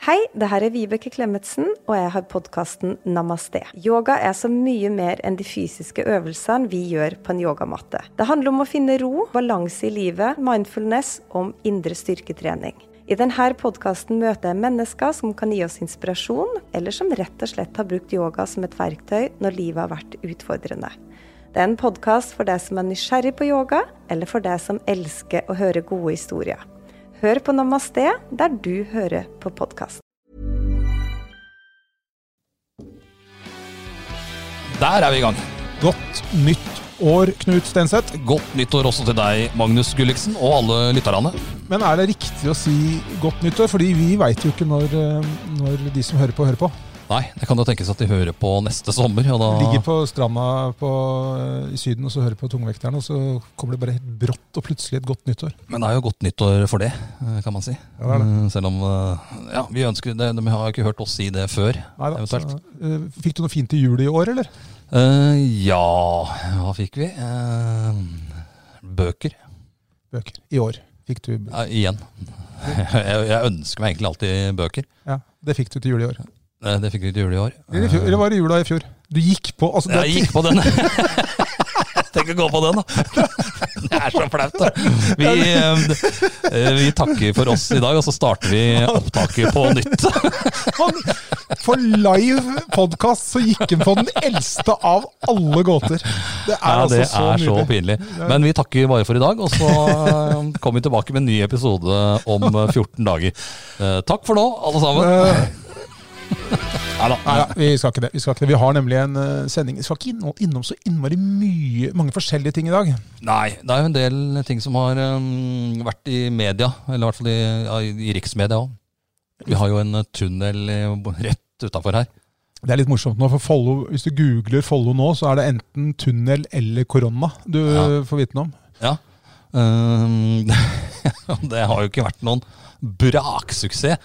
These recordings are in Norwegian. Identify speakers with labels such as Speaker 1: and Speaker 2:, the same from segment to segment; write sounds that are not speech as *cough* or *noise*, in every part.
Speaker 1: Hei, det her er Vibeke Klemetsen, og jeg har podkasten Namaste. Yoga er så mye mer enn de fysiske øvelsene vi gjør på en yogamatte. Det handler om å finne ro, balanse i livet, mindfulness og om indre styrketrening. I denne podkasten møter jeg mennesker som kan gi oss inspirasjon, eller som rett og slett har brukt yoga som et verktøy når livet har vært utfordrende. Det er en podkast for deg som er nysgjerrig på yoga, eller for deg som elsker å høre gode historier. Hør på Namaste der du hører på podkast.
Speaker 2: Der er vi i gang.
Speaker 3: Godt nytt år, Knut Stenseth.
Speaker 2: Godt nyttår også til deg, Magnus Gulliksen, og alle lytterne.
Speaker 3: Men er det riktig å si godt nytt år? Fordi vi veit jo ikke når, eh, når de som hører på, hører på.
Speaker 2: Nei, det kan jo tenkes at de hører på neste sommer. Og da
Speaker 3: Ligger på stranda på, eh, i Syden og så hører på tungvekterne, og så kommer det bare helt brått og plutselig et godt nyttår.
Speaker 2: Men det er jo godt nyttår for det, eh, kan man si.
Speaker 3: Ja, det er
Speaker 2: Eh, Selv om eh, ja, vi ønsker det, De har jo ikke hørt oss si det før,
Speaker 3: Neida,
Speaker 2: eventuelt.
Speaker 3: så, eh, Fikk du noe fint i jul i år, eller?
Speaker 2: Eh, ja, hva fikk vi? Eh, bøker.
Speaker 3: Bøker. I år fikk du bøker.
Speaker 2: Ja, igjen. *laughs* Jeg, jeg ønsker meg egentlig alltid bøker.
Speaker 3: Ja, det fikk du til jul i år.
Speaker 2: Eh, Det fikk vi til jul i år.
Speaker 3: Eller, i fjor, eller var det jula i fjor? Du gikk på altså,
Speaker 2: Jeg
Speaker 3: det,
Speaker 2: gikk på den. *laughs* Tenk å gå på den, da. *laughs* Det er så flaut, da. Vi, eh, vi takker for oss i dag, og så starter vi opptaket på nytt.
Speaker 3: han, For live podkast så gikk han på den eldste av alle gåter. Det
Speaker 2: *laughs*
Speaker 3: er
Speaker 2: Ja,
Speaker 3: altså
Speaker 2: det
Speaker 3: så
Speaker 2: er så
Speaker 3: nydelig.
Speaker 2: pinlig. Men vi takker bare for i dag, og så eh, kommer vi tilbake med en ny episode om eh, 14 dager. Eh, Takk for nå, alle sammen.
Speaker 3: Eh,
Speaker 2: Neida.
Speaker 3: Nei, ja, vi skal ikke det. Vi skal ikke det. Vi har nemlig en eh, sending. Vi skal ikke innom, innom så innmari mye, mange forskjellige ting i dag.
Speaker 2: Nei, det er jo en del ting som har eh, vært i media, eller i hvert fall i, ja, i riksmedia òg. Vi har jo en eh, tunnel eh, rett utafor her.
Speaker 3: Det er litt morsomt nå, for Follo, hvis du googler Follo nå, så er det enten tunnel eller korona du
Speaker 2: Ja.
Speaker 3: eh, får vite noe om.
Speaker 2: Ja. Ehm, *laughs* det har jo ikke vært noen braksuksess,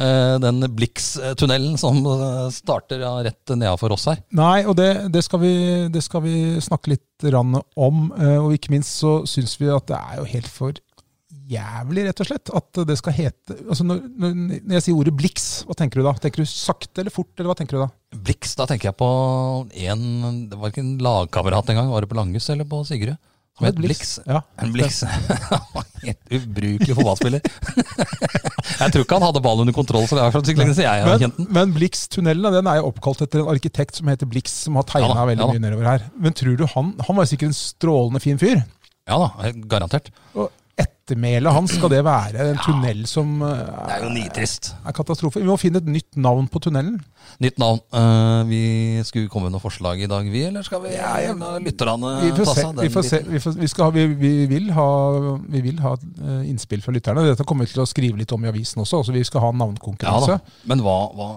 Speaker 2: eh, den Blix-tunnelen som eh, starter ja, rett nedafor oss her.
Speaker 3: Nei, og det, det, skal, vi, det skal vi snakke litt rann om. eh, Og ikke minst så syns vi at det er jo helt for jævlig, rett og slett, at det skal hete altså når, når når jeg sier ordet Blix, hva tenker du da? Tenker du sakte eller fort, eller hva tenker du da?
Speaker 2: Blix, da tenker jeg på en Det var ikke en lagkamerat engang, var det på Langhus eller på Sigrud? Som het Blix.
Speaker 3: Ja.
Speaker 2: En Blix. *laughs* Han var Helt ubrukelig fotballspiller. *laughs* jeg tror ikke han hadde ballen under kontroll, så det er i hvert fall så lenge siden jeg har
Speaker 3: Men,
Speaker 2: kjent den.
Speaker 3: men Blix-tunnelen den er jo oppkalt etter en arkitekt som heter Blix, som har tegna
Speaker 2: Ja da,
Speaker 3: veldig
Speaker 2: ja da.
Speaker 3: mye nedover her. Men tror du han Han var sikkert en strålende fin fyr.
Speaker 2: Ja da, garantert.
Speaker 3: Og ettermælet hans skal det være en tunnel som eh,
Speaker 2: Det er jo nitrist.
Speaker 3: er katastrofe. Vi må finne et nytt navn på tunnelen.
Speaker 2: Nytt navn. Eh, vi skulle komme med noen forslag i dag, vi, eller skal vi ja, ja. lytterne
Speaker 3: Vi får
Speaker 2: ta
Speaker 3: se.
Speaker 2: seg Eh, den
Speaker 3: Vi, får se.
Speaker 2: biten?
Speaker 3: Vi, får, vi, skal ha, vi, vi, vil ha, vi vil ha eh, innspill fra lytterne. Dette kommer vi til å skrive litt om i avisen også. Altså vi skal ha
Speaker 2: Ja
Speaker 3: en
Speaker 2: da.
Speaker 3: navnkonkurranse.
Speaker 2: Men hva, hva,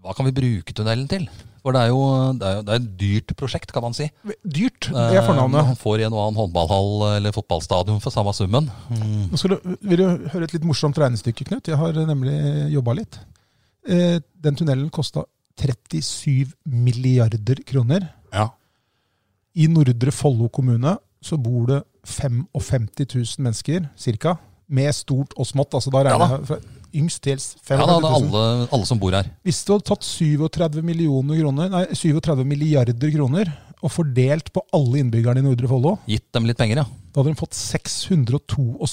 Speaker 2: hva kan vi bruke tunnelen til? For det er jo, det er jo det er et dyrt prosjekt, kan man si. Eh,
Speaker 3: Dyrt, det er fornavnet.
Speaker 2: Man får en og annen håndballhall eller fotballstadion for samme summen. Mm.
Speaker 3: Nå skal du, vil du høre et litt morsomt regnestykke, Knut? Jeg har eh, nemlig jobba litt. Eh, Den tunnelen kosta 37 milliarder kroner.
Speaker 2: Ja.
Speaker 3: I Nordre Follo kommune så bor det 55 000 mennesker, ca. Med stort og smått. altså da regner
Speaker 2: Ja da.
Speaker 3: jeg fra Yngst til 55
Speaker 2: ja da, det er
Speaker 3: 000.
Speaker 2: alle, alle som bor her.
Speaker 3: Hvis du hadde tatt 37, millioner kroner, nei, 37 milliarder kroner og fordelt på alle innbyggerne i Nordre Follo,
Speaker 2: Gitt dem litt penger, ja.
Speaker 3: da hadde de fått 672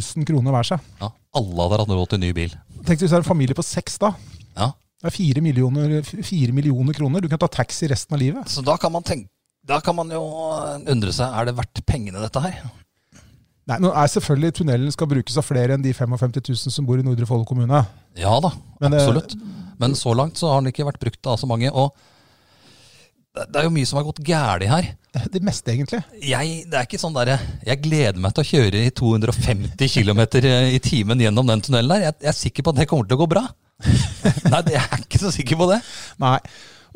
Speaker 3: 000 kroner hver seg.
Speaker 2: ja. Alle hadde hatt råd til ny bil.
Speaker 3: Tenk hvis det er en familie på seks, da.
Speaker 2: Ja.
Speaker 3: Det er fire millioner, fire millioner kroner. Du kan ta taxi resten av livet.
Speaker 2: Så da kan man tenke da kan man jo undre seg, er det verdt pengene dette her?
Speaker 3: Nei, nå er selvfølgelig tunnelen skal brukes av flere enn de 55 000 som bor i Nordre Follo kommune. *laughs*
Speaker 2: Ja da,
Speaker 3: Men det-
Speaker 2: absolutt. Men så langt så har den ikke vært brukt av så mange. Og det det er jo mye som har gått gærent her.
Speaker 3: Det er det meste, egentlig.
Speaker 2: Jeg, det er ikke sånn der, jeg gleder meg til å kjøre i 250 km eh, i timen gjennom den tunnelen der. Jeg, jeg er sikker på at det kommer til å gå bra. *laughs* Nei, det- jeg er ikke så sikker på det.
Speaker 3: Nei.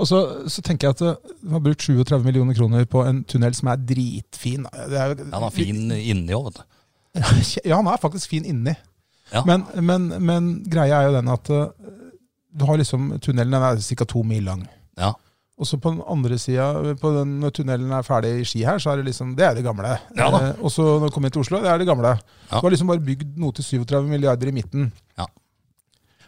Speaker 3: Og så, så tenker jeg at eh, de har brukt 37 millioner kroner på en tunnel som er dritfin. Det er, jo-
Speaker 2: Ja, Den er fin inni òg, vet du.
Speaker 3: *laughs* Ja, den er faktisk fin inni.
Speaker 2: Ja.
Speaker 3: Men, men, men greia er jo den at eh, du har liksom tunnelen den er ca. to mil lang.
Speaker 2: Ja.
Speaker 3: Og så på den andre sida, på den, når tunnelen er ferdig i Ski her, så er det liksom Det er det gamle.
Speaker 2: Ja da.
Speaker 3: Eh, og så når du kommer inn til Oslo, det er det gamle.
Speaker 2: Ja.
Speaker 3: Du har liksom bare bygd noe til 37 milliarder i midten.
Speaker 2: Ja.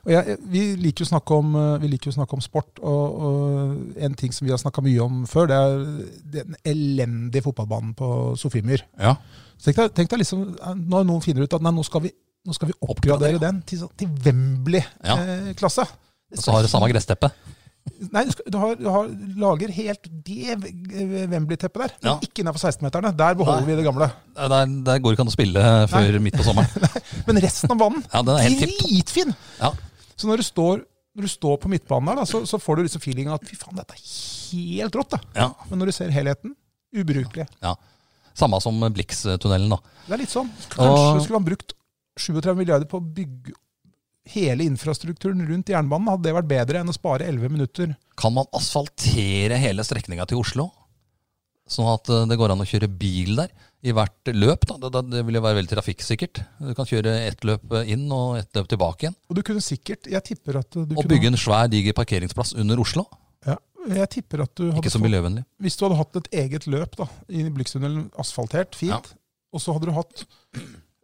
Speaker 3: Og jeg, vi, liker jo å snakke om, eh, vi liker jo å snakke om sport, og, og en ting som vi har snakka mye om før, det er den elendige fotballbanen på Sofiemyr.
Speaker 2: Ja.
Speaker 3: Så Tenk deg, tenk deg liksom, eh, når noen finner ut at nei, nå skal vi, nå skal vi oppgradere
Speaker 2: Oppgradere.
Speaker 3: den til, sånn- til
Speaker 2: Ja.
Speaker 3: Wembley-klasse.
Speaker 2: Og så har det samme gressteppet.
Speaker 3: Nei, du, skal, du, har, du har, lager helt det eh, Wembley-teppet der. men
Speaker 2: Ja.
Speaker 3: Ikke innafor 16-meterne. Der beholder
Speaker 2: Nei.
Speaker 3: vi det gamle.
Speaker 2: Der, der går ikke an å spille før midt på sommeren.
Speaker 3: Men resten av
Speaker 2: *laughs*
Speaker 3: banen,
Speaker 2: Ja, den er helt tipp topp.
Speaker 3: dritfin!
Speaker 2: Ja.
Speaker 3: Så når du står, når du står på midtbanen der, da, så, så får du liksom feelinga at fy faen, dette er helt rått. da.
Speaker 2: Ja.
Speaker 3: Men når du ser helheten, ubrukelig.
Speaker 2: ja. Samme som Blix-tunnelen, da.
Speaker 3: Det er litt sånn.
Speaker 2: Og-
Speaker 3: Kanskje skulle man brukt 37 milliarder på å bygge hele infrastrukturen rundt jernbanen. Hadde det vært bedre enn å spare 11 minutter?
Speaker 2: Kan man asfaltere hele strekninga til Oslo? Sånn at eh, det går an å kjøre bil der i hvert løp. da. Det, det, det vil jo være veldig trafikksikkert. Du kan kjøre ett løp eh, inn og ett løp tilbake igjen.
Speaker 3: Og du kunne sikkert Jeg tipper at du
Speaker 2: Og
Speaker 3: kunne
Speaker 2: bygge en svær, diger parkeringsplass under Oslo.
Speaker 3: ja, Jeg tipper at du hadde
Speaker 2: Ikke så
Speaker 3: fått-
Speaker 2: miljøvennlig.
Speaker 3: Hvis du hadde hatt et eget løp da, i Blikstunnelen, asfaltert, fint,
Speaker 2: Ja.
Speaker 3: og så hadde du hatt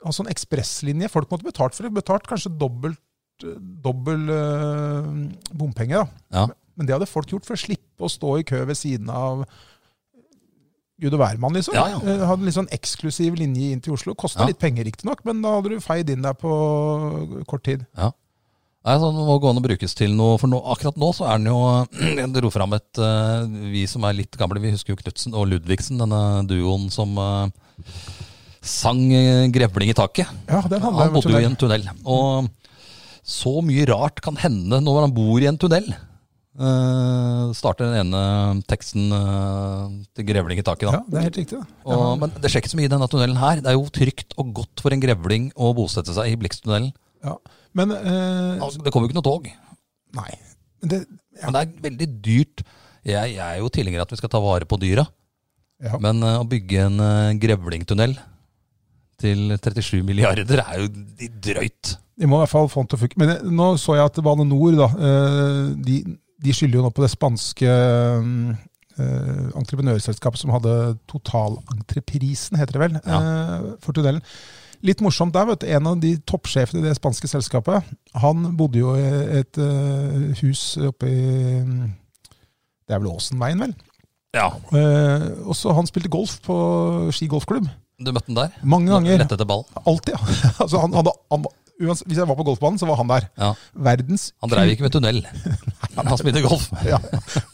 Speaker 3: altså en ekspresslinje Folk måtte betalt for det. Betalt kanskje dobbelt, dobbel eh, bompenge. da.
Speaker 2: Ja.
Speaker 3: Men det hadde folk gjort for å slippe å stå i kø ved siden av gud og hvermann, liksom.
Speaker 2: Ja, ja.
Speaker 3: Eh, Hadde en litt sånn eksklusiv linje inn til Oslo. Kosta
Speaker 2: Ja.
Speaker 3: litt penger, riktignok, men da hadde du feid inn der på kort tid.
Speaker 2: Nei, så Den må gå an å brukes til noe, for nå, akkurat nå så er den jo *clears throat* Jeg dro fram et eh, Vi som er litt gamle, vi husker jo Knutsen og Ludvigsen, denne duoen som eh, sang eh, 'Grevling i taket'.
Speaker 3: Ja, den handla
Speaker 2: Han bodde jo i en tunnel. Og så mye rart kan hende når han bor i en tunnel. Eh, starter den ene teksten eh, til 'Grevling i taket'. da.
Speaker 3: Ja, det er helt riktig. det.
Speaker 2: Og, men det skjer ikke så mye i denne tunnelen her. Det er jo trygt og godt for en grevling å bosette seg i Blikstunnelen.
Speaker 3: Ja. Men eh,
Speaker 2: Altså, det kommer jo ikke noe tog,
Speaker 3: Nei. Det, ja,
Speaker 2: men det er veldig dyrt. Jeg, jeg er jo tilhenger av at vi skal ta vare på dyra,
Speaker 3: ja.
Speaker 2: men eh, å bygge en eh, grevlingtunnel til 37 milliarder er jo i drøyt.
Speaker 3: De må i hvert fall få den til å funke. Men det, nå så jeg at Bane Nor da, eh, de, de skylder jo nå på det spanske mm, eh, entreprenørselskapet som hadde totalentreprisen, heter det vel, eh, for tunnelen. Litt morsomt der, vet du, en av de toppsjefene i det spanske selskapet, han bodde jo i et eh, hus oppe i mm, Det er vel Åsenveien, vel?
Speaker 2: Ja,
Speaker 3: Eh, også han spilte golf på Ski golfklubb.
Speaker 2: Du møtte den der?
Speaker 3: Mange ganger.
Speaker 2: Lette etter ballen?
Speaker 3: Alltid. ja. *laughs* altså, han hadde, han, uansett, hvis jeg var på golfbanen, så var han der.
Speaker 2: Ja.
Speaker 3: Verdens
Speaker 2: Han dreiv ikke med tunnel. Han spilte golf.
Speaker 3: ja,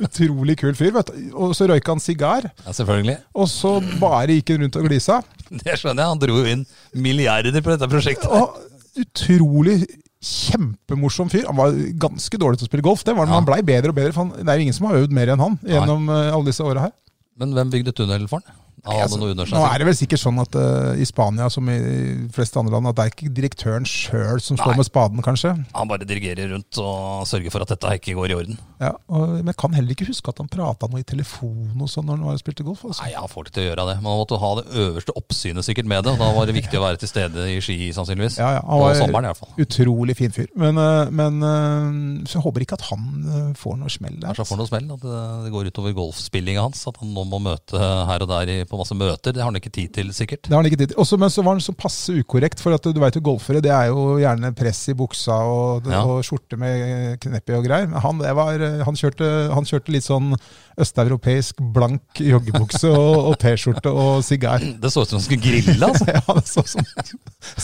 Speaker 3: Utrolig kul fyr. vet du. Og så røyka han sigar,
Speaker 2: Ja, selvfølgelig.
Speaker 3: og så bare gikk han rundt og glisa.
Speaker 2: Det skjønner jeg. Han dro jo inn milliarder på dette prosjektet.
Speaker 3: Og utrolig kjempemorsom fyr. Han var ganske dårlig til å spille golf, det var, han,
Speaker 2: Ja.
Speaker 3: men han blei bedre og bedre. For han, det er jo ingen som har øvd mer enn han gjennom eh, alle disse åra her.
Speaker 2: Men hvem bygde tunnel for han? Han hadde
Speaker 3: Altså,
Speaker 2: noe under
Speaker 3: nå
Speaker 2: seg.
Speaker 3: er det vel sikkert sånn at eh, i Spania, som i de fleste andre land, at det er ikke direktøren sjøl som står
Speaker 2: Nei.
Speaker 3: med spaden, kanskje.
Speaker 2: Han bare dirigerer rundt og sørger for at dette her ikke går i orden.
Speaker 3: Ja, og, men jeg kan heller ikke huske at han prata noe i telefon og sånn når han var og spilte golf. Altså.
Speaker 2: Nei, han får det til å gjøre det. Man måtte ha det øverste oppsynet sikkert med det. Og da var det viktig å være til stede i Ski, sannsynligvis.
Speaker 3: Ja, ja,
Speaker 2: På
Speaker 3: han var-
Speaker 2: sommeren i hvert fall.
Speaker 3: Utrolig fin fyr. Men, eh, men eh, så jeg håper ikke at han eh, får noe smell der.
Speaker 2: Kanskje han får noe smell, at det- det går utover golfspillinga hans. At han nå må møte her og der i- på masse møter. Det har han ikke tid til, sikkert. *clears throat*
Speaker 3: Det har han ikke tid til. Også, men så var han så passe ukorrekt, for at du veit jo golfere det er jo gjerne press i buksa og,
Speaker 2: Ja.
Speaker 3: og skjorte med knepp i og greier. Men han, det var, eh, han, kjørte, han kjørte litt sånn østeuropeisk blank joggebukse og, og T-skjorte og sigar. *laughs*
Speaker 2: Det så ut som han skulle grille, altså.
Speaker 3: Ja, det så sånn,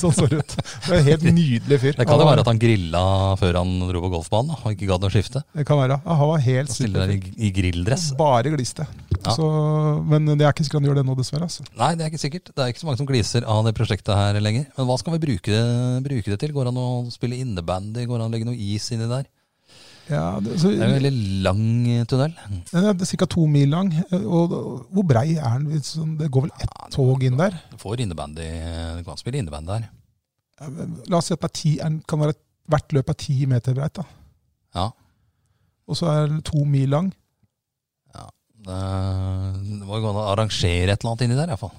Speaker 3: sånn så det ut. Det var en helt nydelig fyr.
Speaker 2: Det kan jo være at han grilla før han dro på golfbanen da, og ikke gadd å skifte.
Speaker 3: Det kan være. Ja, han var helt
Speaker 2: Og stille der
Speaker 3: super.
Speaker 2: i, i grilldress.
Speaker 3: Bare gliste.
Speaker 2: Ja.
Speaker 3: Så, men det er ikke sikkert han gjør det nå, dessverre. Altså.
Speaker 2: Nei, det er ikke sikkert. Det er ikke så mange som gliser av det prosjektet her lenger. Men hva skal vi bruke det, bruke det til? Går det an å spille innebandy? Går det an å legge noe is inni der?
Speaker 3: Ja, det, så,
Speaker 2: Det er jo en veldig lang eh, tunnel.
Speaker 3: Den er ca. to mil lang. Og og hvor brei er den? Litt sånn- Det går vel ett tog inn der?
Speaker 2: Du får innebandy, du kan spille innebandy her.
Speaker 3: La oss si at det er ti, er den- kan være, hvert løp er ti meter breit. da.
Speaker 2: Ja.
Speaker 3: Og så er den to mil lang.
Speaker 2: Eh, Det må jo gå an å arrangere et eller annet inni der iallfall.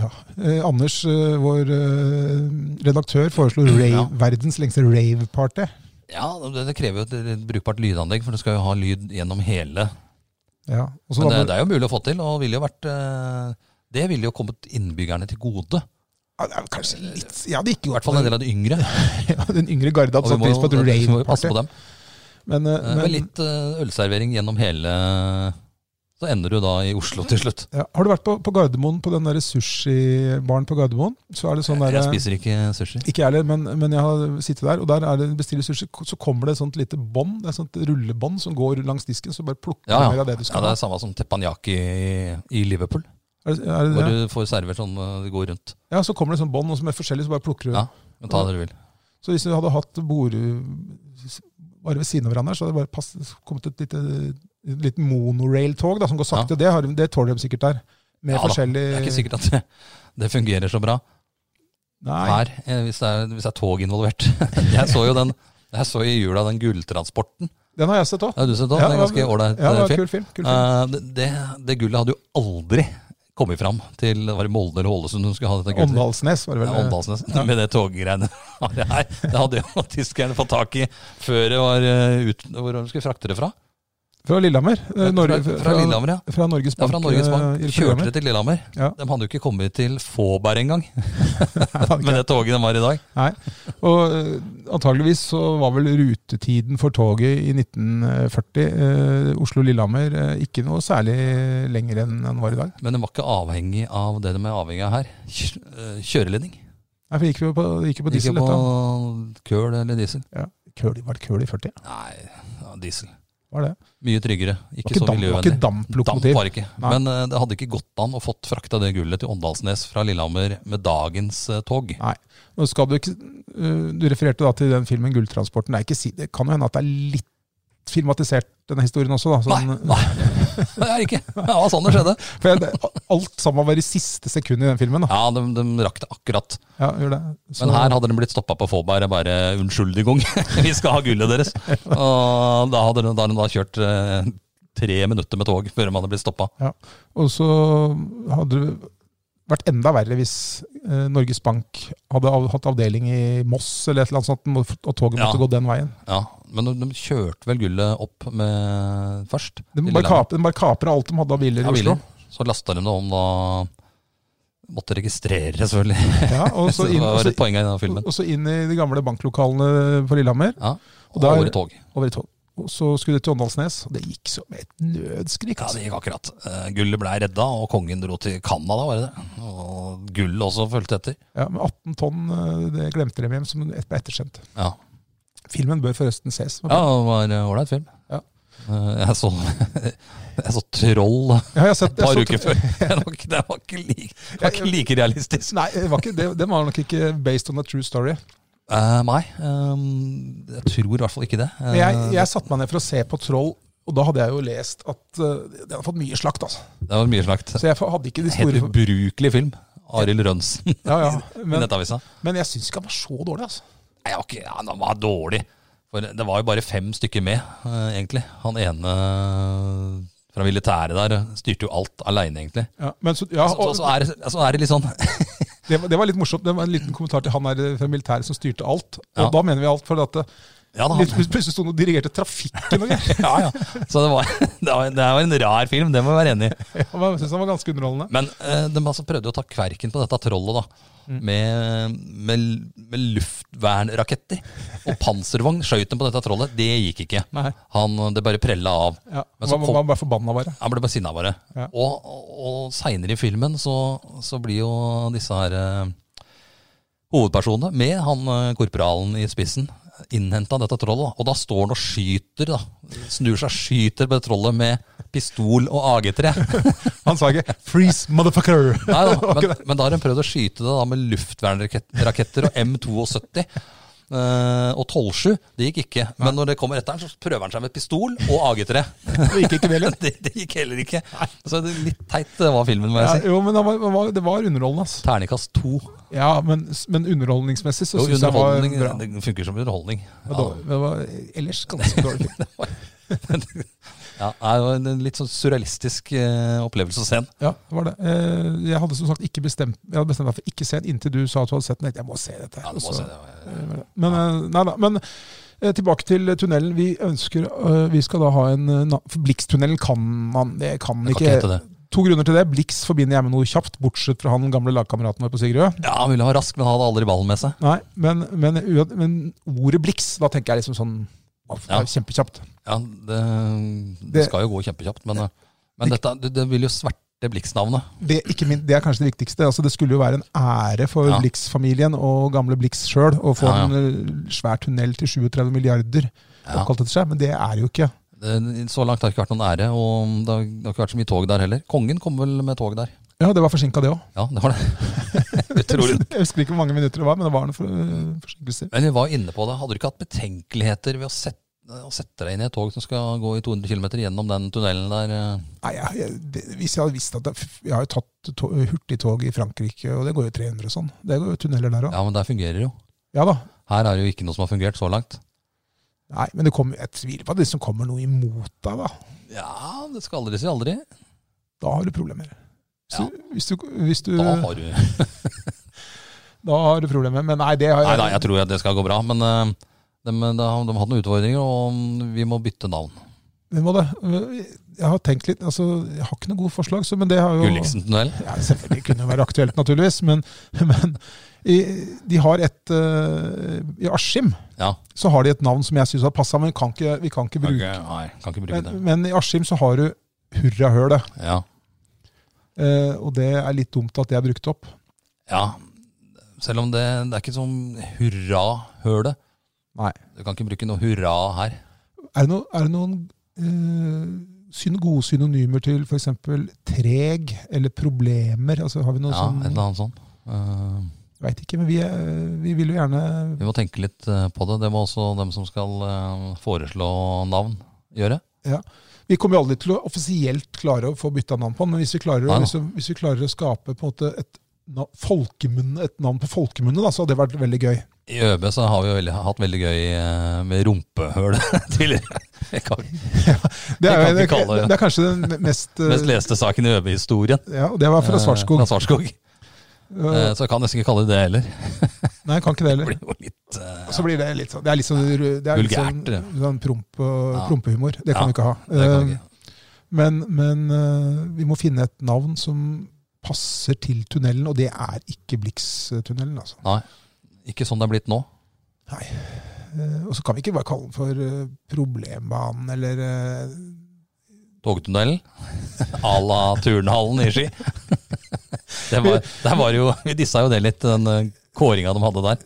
Speaker 3: Ja. Eh, Anders, eh, vår eh, redaktør, foreslo rave,
Speaker 2: Ja.
Speaker 3: verdens lengste rave-party.
Speaker 2: Ja, det, det krever jo et, et brukbart lydanlegg, for du skal jo ha lyd gjennom hele.
Speaker 3: Ja. og så
Speaker 2: Men
Speaker 3: da
Speaker 2: det,
Speaker 3: må-
Speaker 2: det er jo mulig å få til, og ville jo vært eh, Det ville jo kommet innbyggerne til gode.
Speaker 3: Ja, det er vel kanskje litt Jeg hadde ikke
Speaker 2: I hvert fall en del av de yngre.
Speaker 3: ja, *laughs* Den yngre garde
Speaker 2: Og vi
Speaker 3: hadde satt
Speaker 2: må
Speaker 3: pris på et
Speaker 2: jo vi må jo passe
Speaker 3: rave-party.
Speaker 2: på dem.
Speaker 3: Men,
Speaker 2: Eh,
Speaker 3: eh,
Speaker 2: Med
Speaker 3: men
Speaker 2: litt eh, ølservering gjennom hele Så ender du da i Oslo til slutt.
Speaker 3: ja, har du vært på, på Gardermoen, på den der sushibaren på Gardermoen? Så er det sånn der,
Speaker 2: Jeg spiser ikke sushi.
Speaker 3: Ikke jeg heller, men, men jeg har sittet der, og der er det bestiller sushi. Så kommer det et sånt lite bånd, et sånt rullebånd som går langs disken, så bare plukker
Speaker 2: Ja,
Speaker 3: du mer
Speaker 2: ja.
Speaker 3: av det du
Speaker 2: ja
Speaker 3: skal
Speaker 2: det
Speaker 3: ha.
Speaker 2: er samme som teppanyaki i, i Liverpool.
Speaker 3: Er det, er det,
Speaker 2: Hvor
Speaker 3: det?
Speaker 2: du får servert sånn eh, det går rundt.
Speaker 3: Ja, så kommer det sånn bånd, og så med forskjellig, så bare plukker du.
Speaker 2: Ja. Men ta det du vil.
Speaker 3: Så hvis du hadde hatt bord bare ved siden av hverandre, så hadde det bare passet, kommet et lite, et lite monorail-tog da, som går sakte. Det, har, de- det tåler de sikkert der. Med
Speaker 2: Ja da,
Speaker 3: forskjellig
Speaker 2: Det er ikke sikkert at det, det fungerer så bra
Speaker 3: Nei.
Speaker 2: her, eh, hvis det er, hvis det er tog involvert. *laughs* Jeg så jo den jeg så i jula den gulltransporten.
Speaker 3: Den har jeg sett òg.
Speaker 2: Ja, du sett også? det er ganske ålreit
Speaker 3: Ja,
Speaker 2: eh,
Speaker 3: det var
Speaker 2: film.
Speaker 3: en kul film. Kul film.
Speaker 2: Eh, det, det, det gullet hadde jo aldri kommet fram til det var i Molde eller Ålesund hun skulle ha dette gullet.
Speaker 3: Åndalsnes var det
Speaker 2: Ja,
Speaker 3: vel.
Speaker 2: Åndalsnes. *laughs* Med det toggreiene. Nei, det hadde jo *laughs* tyskerne fått tak i før det var eh, ut, hvor de skulle frakte det fra.
Speaker 3: Fra Lillehammer. eh, Norge,
Speaker 2: fra, fra Lillehammer, ja.
Speaker 3: Fra Norges
Speaker 2: Ja,
Speaker 3: Bank.
Speaker 2: fra Norges Bank.
Speaker 3: eh, i
Speaker 2: Kjørte
Speaker 3: *laughs* programmet.
Speaker 2: det til Lillehammer.
Speaker 3: Ja.
Speaker 2: De hadde jo ikke kommet til Fåberg engang,
Speaker 3: Nei, det var ikke
Speaker 2: med det toget de var i dag.
Speaker 3: Nei. Og eh, antageligvis så var vel rutetiden for toget i 1940, eh, Oslo-Lillehammer, eh, ikke noe særlig lenger enn den var i dag.
Speaker 2: Men de var ikke avhengig av det de er avhengig av her. Kj- eh, Kjøreledning.
Speaker 3: Nei, for det gikk jo på, det gikk jo på
Speaker 2: Ikke
Speaker 3: diesel,
Speaker 2: på
Speaker 3: dette.
Speaker 2: køl eller diesel.
Speaker 3: Køl, var det køl i 40?
Speaker 2: Nei, ja, diesel.
Speaker 3: Var det?
Speaker 2: Mye tryggere. Ikke,
Speaker 3: Var ikke,
Speaker 2: så
Speaker 3: damp, var
Speaker 2: miljøvennlig.
Speaker 3: ikke
Speaker 2: Damp
Speaker 3: damplokomotiv?
Speaker 2: var det ikke.
Speaker 3: Nei.
Speaker 2: Men eh, det hadde ikke gått an å fått frakta det gullet til Åndalsnes fra Lillehammer med dagens eh,
Speaker 3: *laughs*
Speaker 2: tog.
Speaker 3: Nå skal du, ikke, eh, du refererte da til den filmen 'Gulltransporten'. Det, er ikke, si- det kan jo hende at det er litt filmatisert, denne historien også. Da.
Speaker 2: Nei,
Speaker 3: Sånn,
Speaker 2: nei, det er ikke. Det var sånn det skjedde.
Speaker 3: *laughs* for jeg, alt sammen var i siste sekund i den filmen. Da.
Speaker 2: Ja, de, de rakk det akkurat.
Speaker 3: Ja, gjør det. Så-
Speaker 2: Men her hadde de blitt stoppa på Fåberg og bare 'unnskyldigung, *laughs* vi skal ha gullet deres'. Og da hadde de da, hadde de da kjørt eh, tre minutter med tog før de hadde blitt stoppa.
Speaker 3: Og så hadde det vært enda verre hvis eh, Norges Bank hadde av, hatt avdeling i Moss eller et eller annet sånt, må- og toget
Speaker 2: Ja.
Speaker 3: måtte gå den veien.
Speaker 2: Ja, men de, de kjørte vel gullet opp med først.
Speaker 3: De
Speaker 2: til
Speaker 3: bare,
Speaker 2: Lillehammer.
Speaker 3: kaper, de bare kapra alt de hadde av biler i
Speaker 2: Ja,
Speaker 3: Oslo.
Speaker 2: biler. Så lasta de det om da Måtte registrere, selvfølgelig. *laughs*
Speaker 3: Ja, og, så
Speaker 2: det
Speaker 3: inn, og,
Speaker 2: var
Speaker 3: så,
Speaker 2: et poeng i den filmen.
Speaker 3: og så inn i de gamle banklokalene på Lillehammer,
Speaker 2: Ja,
Speaker 3: og
Speaker 2: og
Speaker 3: der-
Speaker 2: over i tog.
Speaker 3: over i tog. Og så skulle det til Åndalsnes, og det gikk som et nødskrik.
Speaker 2: Ja,
Speaker 3: Altså.
Speaker 2: det gikk akkurat. Eh, Gullet blei redda, og kongen dro til Canada, var det det? Og gullet også fulgte etter.
Speaker 3: Ja, med 18 tonn, eh, det glemte de hjem, som et- ble ettersendt.
Speaker 2: Ja,
Speaker 3: Filmen bør forresten ses.
Speaker 2: ja det var eh, ålreit film.
Speaker 3: Ja.
Speaker 2: Eh, Jeg så, *laughs* jeg så Troll et
Speaker 3: Ja, jeg har sett, jeg
Speaker 2: par
Speaker 3: så-
Speaker 2: uker før. *laughs* Det var ikke, det var ikke, like, det var ikke like realistisk.
Speaker 3: Nei, det var ikke, det, den var nok ikke based on a true story.
Speaker 2: Eh, nei, eh, jeg tror i hvert fall ikke det. Eh,
Speaker 3: Men jeg, jeg satte meg ned for å se på Troll, og da hadde jeg jo lest at uh, den har fått mye slakt, altså.
Speaker 2: Det var mye slakt.
Speaker 3: Så jeg hadde ikke de
Speaker 2: Helt
Speaker 3: store
Speaker 2: ubrukelig film. Arild Rønsen
Speaker 3: ja, ja.
Speaker 2: i *laughs*
Speaker 3: Men,
Speaker 2: Nettavisa.
Speaker 3: men jeg syns ikke han var så dårlig, altså.
Speaker 2: Nei, jeg var ikke, ja, den var dårlig. For det var jo bare fem stykker med, eh, egentlig. Han ene eh, fra militæret der eh, styrte jo alt aleine, egentlig.
Speaker 3: Ja, men så, ja,
Speaker 2: Så, så,
Speaker 3: og,
Speaker 2: så, er, det- så er det litt sånn *laughs*
Speaker 3: det, var- det var litt morsomt. Det var en liten kommentar til han der fra militæret som styrte alt. Og
Speaker 2: Ja.
Speaker 3: da mener vi alt, for at det,
Speaker 2: Ja da.
Speaker 3: litt- *laughs* plutselig sto han og dirigerte trafikken
Speaker 2: *laughs*
Speaker 3: og greier.
Speaker 2: Ja, ja. Så det var, *laughs* det var, det var en rar film, det må jeg være enig i.
Speaker 3: Ja, men Jeg syns han var ganske underholdende.
Speaker 2: Men eh, de altså prøvde jo å ta kverken på dette trollet, da.
Speaker 3: Mm.
Speaker 2: Med, med, med luftvernraketter. Og panservogn skjøt dem på dette trollet. Det gikk ikke.
Speaker 3: Nei.
Speaker 2: Han, det bare prella av.
Speaker 3: Ja,
Speaker 2: Men
Speaker 3: han
Speaker 2: så
Speaker 3: var,
Speaker 2: kom-
Speaker 3: var bare forbanna,
Speaker 2: *laughs*
Speaker 3: bare.
Speaker 2: Han ble bare sinna, bare.
Speaker 3: Ja.
Speaker 2: Og, og- og seinere i filmen så, så blir jo disse her eh, hovedpersonene, med han eh, korporalen i spissen, innhenta av dette trollet. da. Og da står han og skyter, da. Snur seg, skyter på det trollet med pistol og *laughs* AG3.
Speaker 3: Han sa ikke 'freeze, motherfucker'.
Speaker 2: *laughs* Nei
Speaker 3: *laughs*
Speaker 2: da, men, men da har de prøvd å skyte det da med luftvernraketter og M72. eh, og 12-7, det gikk ikke. Men når det kommer etter den, så prøver han seg med pistol og AG3.
Speaker 3: *laughs* Det gikk ikke det heller.
Speaker 2: *laughs* det, det gikk heller ikke. Så det er litt teit eh, var filmen, må jeg
Speaker 3: Ja,
Speaker 2: si.
Speaker 3: jo, men han var, han var, det var underholdende, altså.
Speaker 2: Terningkast to.
Speaker 3: Ja, men, men underholdningsmessig så
Speaker 2: Jo,
Speaker 3: syns jeg var
Speaker 2: underholdning,
Speaker 3: bra.
Speaker 2: det funker som underholdning.
Speaker 3: Det var, dårlig. det var ellers ganske
Speaker 2: *laughs*
Speaker 3: dårlig. film.
Speaker 2: Ja, det er jo en litt sånn surrealistisk eh, opplevelse å se den.
Speaker 3: Ja, det var det. Eh, Jeg hadde som sagt ikke bestemt Jeg hadde bestemt meg for ikke å se den inntil du sa at du hadde sett den. Jeg tenkte, Jeg må se dette.
Speaker 2: Ja, du må
Speaker 3: Og så-
Speaker 2: se det.
Speaker 3: eh, var det. Altså. Men, eh, nei da, men eh, tilbake til tunnelen. Vi ønsker eh, Vi skal da ha en eh, na- for Blikstunnelen kan man Det kan
Speaker 2: Det kan
Speaker 3: ikke
Speaker 2: ikke hete det.
Speaker 3: to grunner til det. Blix forbinder jeg med noe kjapt, bortsett fra han gamle lagkameraten vår på Sigrød.
Speaker 2: Ja, Han ville være rask, men han hadde aldri ballen med seg.
Speaker 3: Nei, men, men, ua- men ordet Blix, da tenker jeg liksom sånn wow, det
Speaker 2: Ja.
Speaker 3: er Kjempekjapt.
Speaker 2: Ja, Det, det
Speaker 3: Det-
Speaker 2: skal jo gå kjempekjapt, men, eh, men dette, det, det vil jo sverte Blix-navnet.
Speaker 3: Det, ikke min, det er kanskje det viktigste. Altså, det skulle jo være en ære for
Speaker 2: Ja.
Speaker 3: Blix-familien og gamle Blix sjøl å få
Speaker 2: Ja, ja.
Speaker 3: en eh, svær tunnel til 37 milliarder
Speaker 2: Ja.
Speaker 3: oppkalt etter seg, men det er det jo ikke.
Speaker 2: Det- Så langt har det ikke vært noen ære, og det har, det har ikke vært så mye tog der heller. Kongen kom vel med tog der.
Speaker 3: Ja, det var forsinka, det òg.
Speaker 2: Ja, det *laughs* var det.
Speaker 3: *laughs*
Speaker 2: Utrolig.
Speaker 3: Jeg husker ikke hvor mange minutter det var, men det var noen for, eh, forsinkelser.
Speaker 2: Men vi var inne på det. Hadde du ikke hatt betenkeligheter ved å sette, å sette deg inn i et tog som skal gå i 200 km gjennom den tunnelen der? eh?
Speaker 3: Nei, jeg, jeg, det, hvis jeg hadde visst at det, Jeg har jo tatt to, hurtigtog i Frankrike, og det går jo 300 og sånn. Det går jo tunneler der òg.
Speaker 2: Ja, men der fungerer jo.
Speaker 3: Ja da.
Speaker 2: Her er det jo ikke noe som har fungert så langt.
Speaker 3: Nei, men det kommer, jeg tviler på at det liksom kommer noe imot deg, da.
Speaker 2: Ja, det skal aldri si aldri.
Speaker 3: Da har du problemer. Så, Hvis du, hvis du,
Speaker 2: Da
Speaker 3: da, har.
Speaker 2: har du Nei,
Speaker 3: du problemer. Men nei, det har jeg
Speaker 2: nei, jeg tror at det skal gå bra, men eh, de, de, de har hatt noen utfordringer, og mm, vi må bytte navn.
Speaker 3: Vi må det. Jeg har tenkt litt, altså, jeg har ikke noe godt forslag, så, men det har jo
Speaker 2: Gulliksen-tunnel.
Speaker 3: Ja, selvfølgelig kunne jo være aktuelt, naturligvis. Men, men i, de har et eh, I Askim
Speaker 2: Ja.
Speaker 3: så har de et navn som jeg syns har passa, men vi kan ikke, vi kan ikke
Speaker 2: Kan
Speaker 3: bruke
Speaker 2: ikke, nei, kan ikke bruke
Speaker 3: men,
Speaker 2: det.
Speaker 3: men i Askim så har du Hurrahølet,
Speaker 2: Ja.
Speaker 3: eh, og det er litt dumt at det er brukt opp.
Speaker 2: ja. Selv om det, det er ikke sånn hurra-høle.
Speaker 3: Nei.
Speaker 2: Du kan ikke bruke noe hurra her.
Speaker 3: Er det, no, er det noen eh, syn, gode synonymer til f.eks. treg eller problemer? Altså, har vi noe
Speaker 2: Ja,
Speaker 3: sånn
Speaker 2: et eller annet sånt. Eh,
Speaker 3: Veit ikke, men vi, er- vi vil jo gjerne
Speaker 2: vi må tenke litt eh, på det. Det må også dem som skal eh, foreslå navn, gjøre.
Speaker 3: Vi kommer jo aldri til å offisielt klare å få bytta navn på den, men hvis vi klarer, å-
Speaker 2: Nei da.
Speaker 3: hvis vi, hvis vi klarer å skape på en måte et, na- folkemunne, et navn på folkemunne, da, så hadde det vært veldig gøy.
Speaker 2: I ØB så har vi jo veldig, hatt veldig gøy eh, med rumpehøl *laughs* tidligere. Jeg kan-
Speaker 3: Det
Speaker 2: kan
Speaker 3: er, jo- det,
Speaker 2: vi kalle
Speaker 3: det,
Speaker 2: det.
Speaker 3: er kanskje den mest,
Speaker 2: *laughs*
Speaker 3: eh,
Speaker 2: Mest leste saken i ØB-historien.
Speaker 3: Ja, og det var fra Svartskog.
Speaker 2: Eh, Fra Svartskog. Eh, Så jeg kan nesten ikke kalle det det heller.
Speaker 3: Nei, kan ikke
Speaker 2: Det
Speaker 3: det heller.
Speaker 2: blir jo litt eh,
Speaker 3: Så blir det litt sånn Det er litt sånn, det er litt sånn,
Speaker 2: Vulgært, det.
Speaker 3: sånn prompe,
Speaker 2: Ja.
Speaker 3: prompehumor. Det
Speaker 2: Ja,
Speaker 3: kan vi ikke ha. Eh,
Speaker 2: det kan vi ikke.
Speaker 3: Men, men eh, vi må finne et navn som passer til tunnelen, og det er ikke Blix-tunnelen, altså.
Speaker 2: Nei. Ikke sånn det er blitt nå.
Speaker 3: Eh, Og så kan vi ikke bare kalle den for eh, Problembanen eller eh,
Speaker 2: Togtunnelen. *laughs* À la turnhallen i Ski. *laughs* Det var, der var jo, vi dissa jo det litt, den eh, kåringa de hadde der.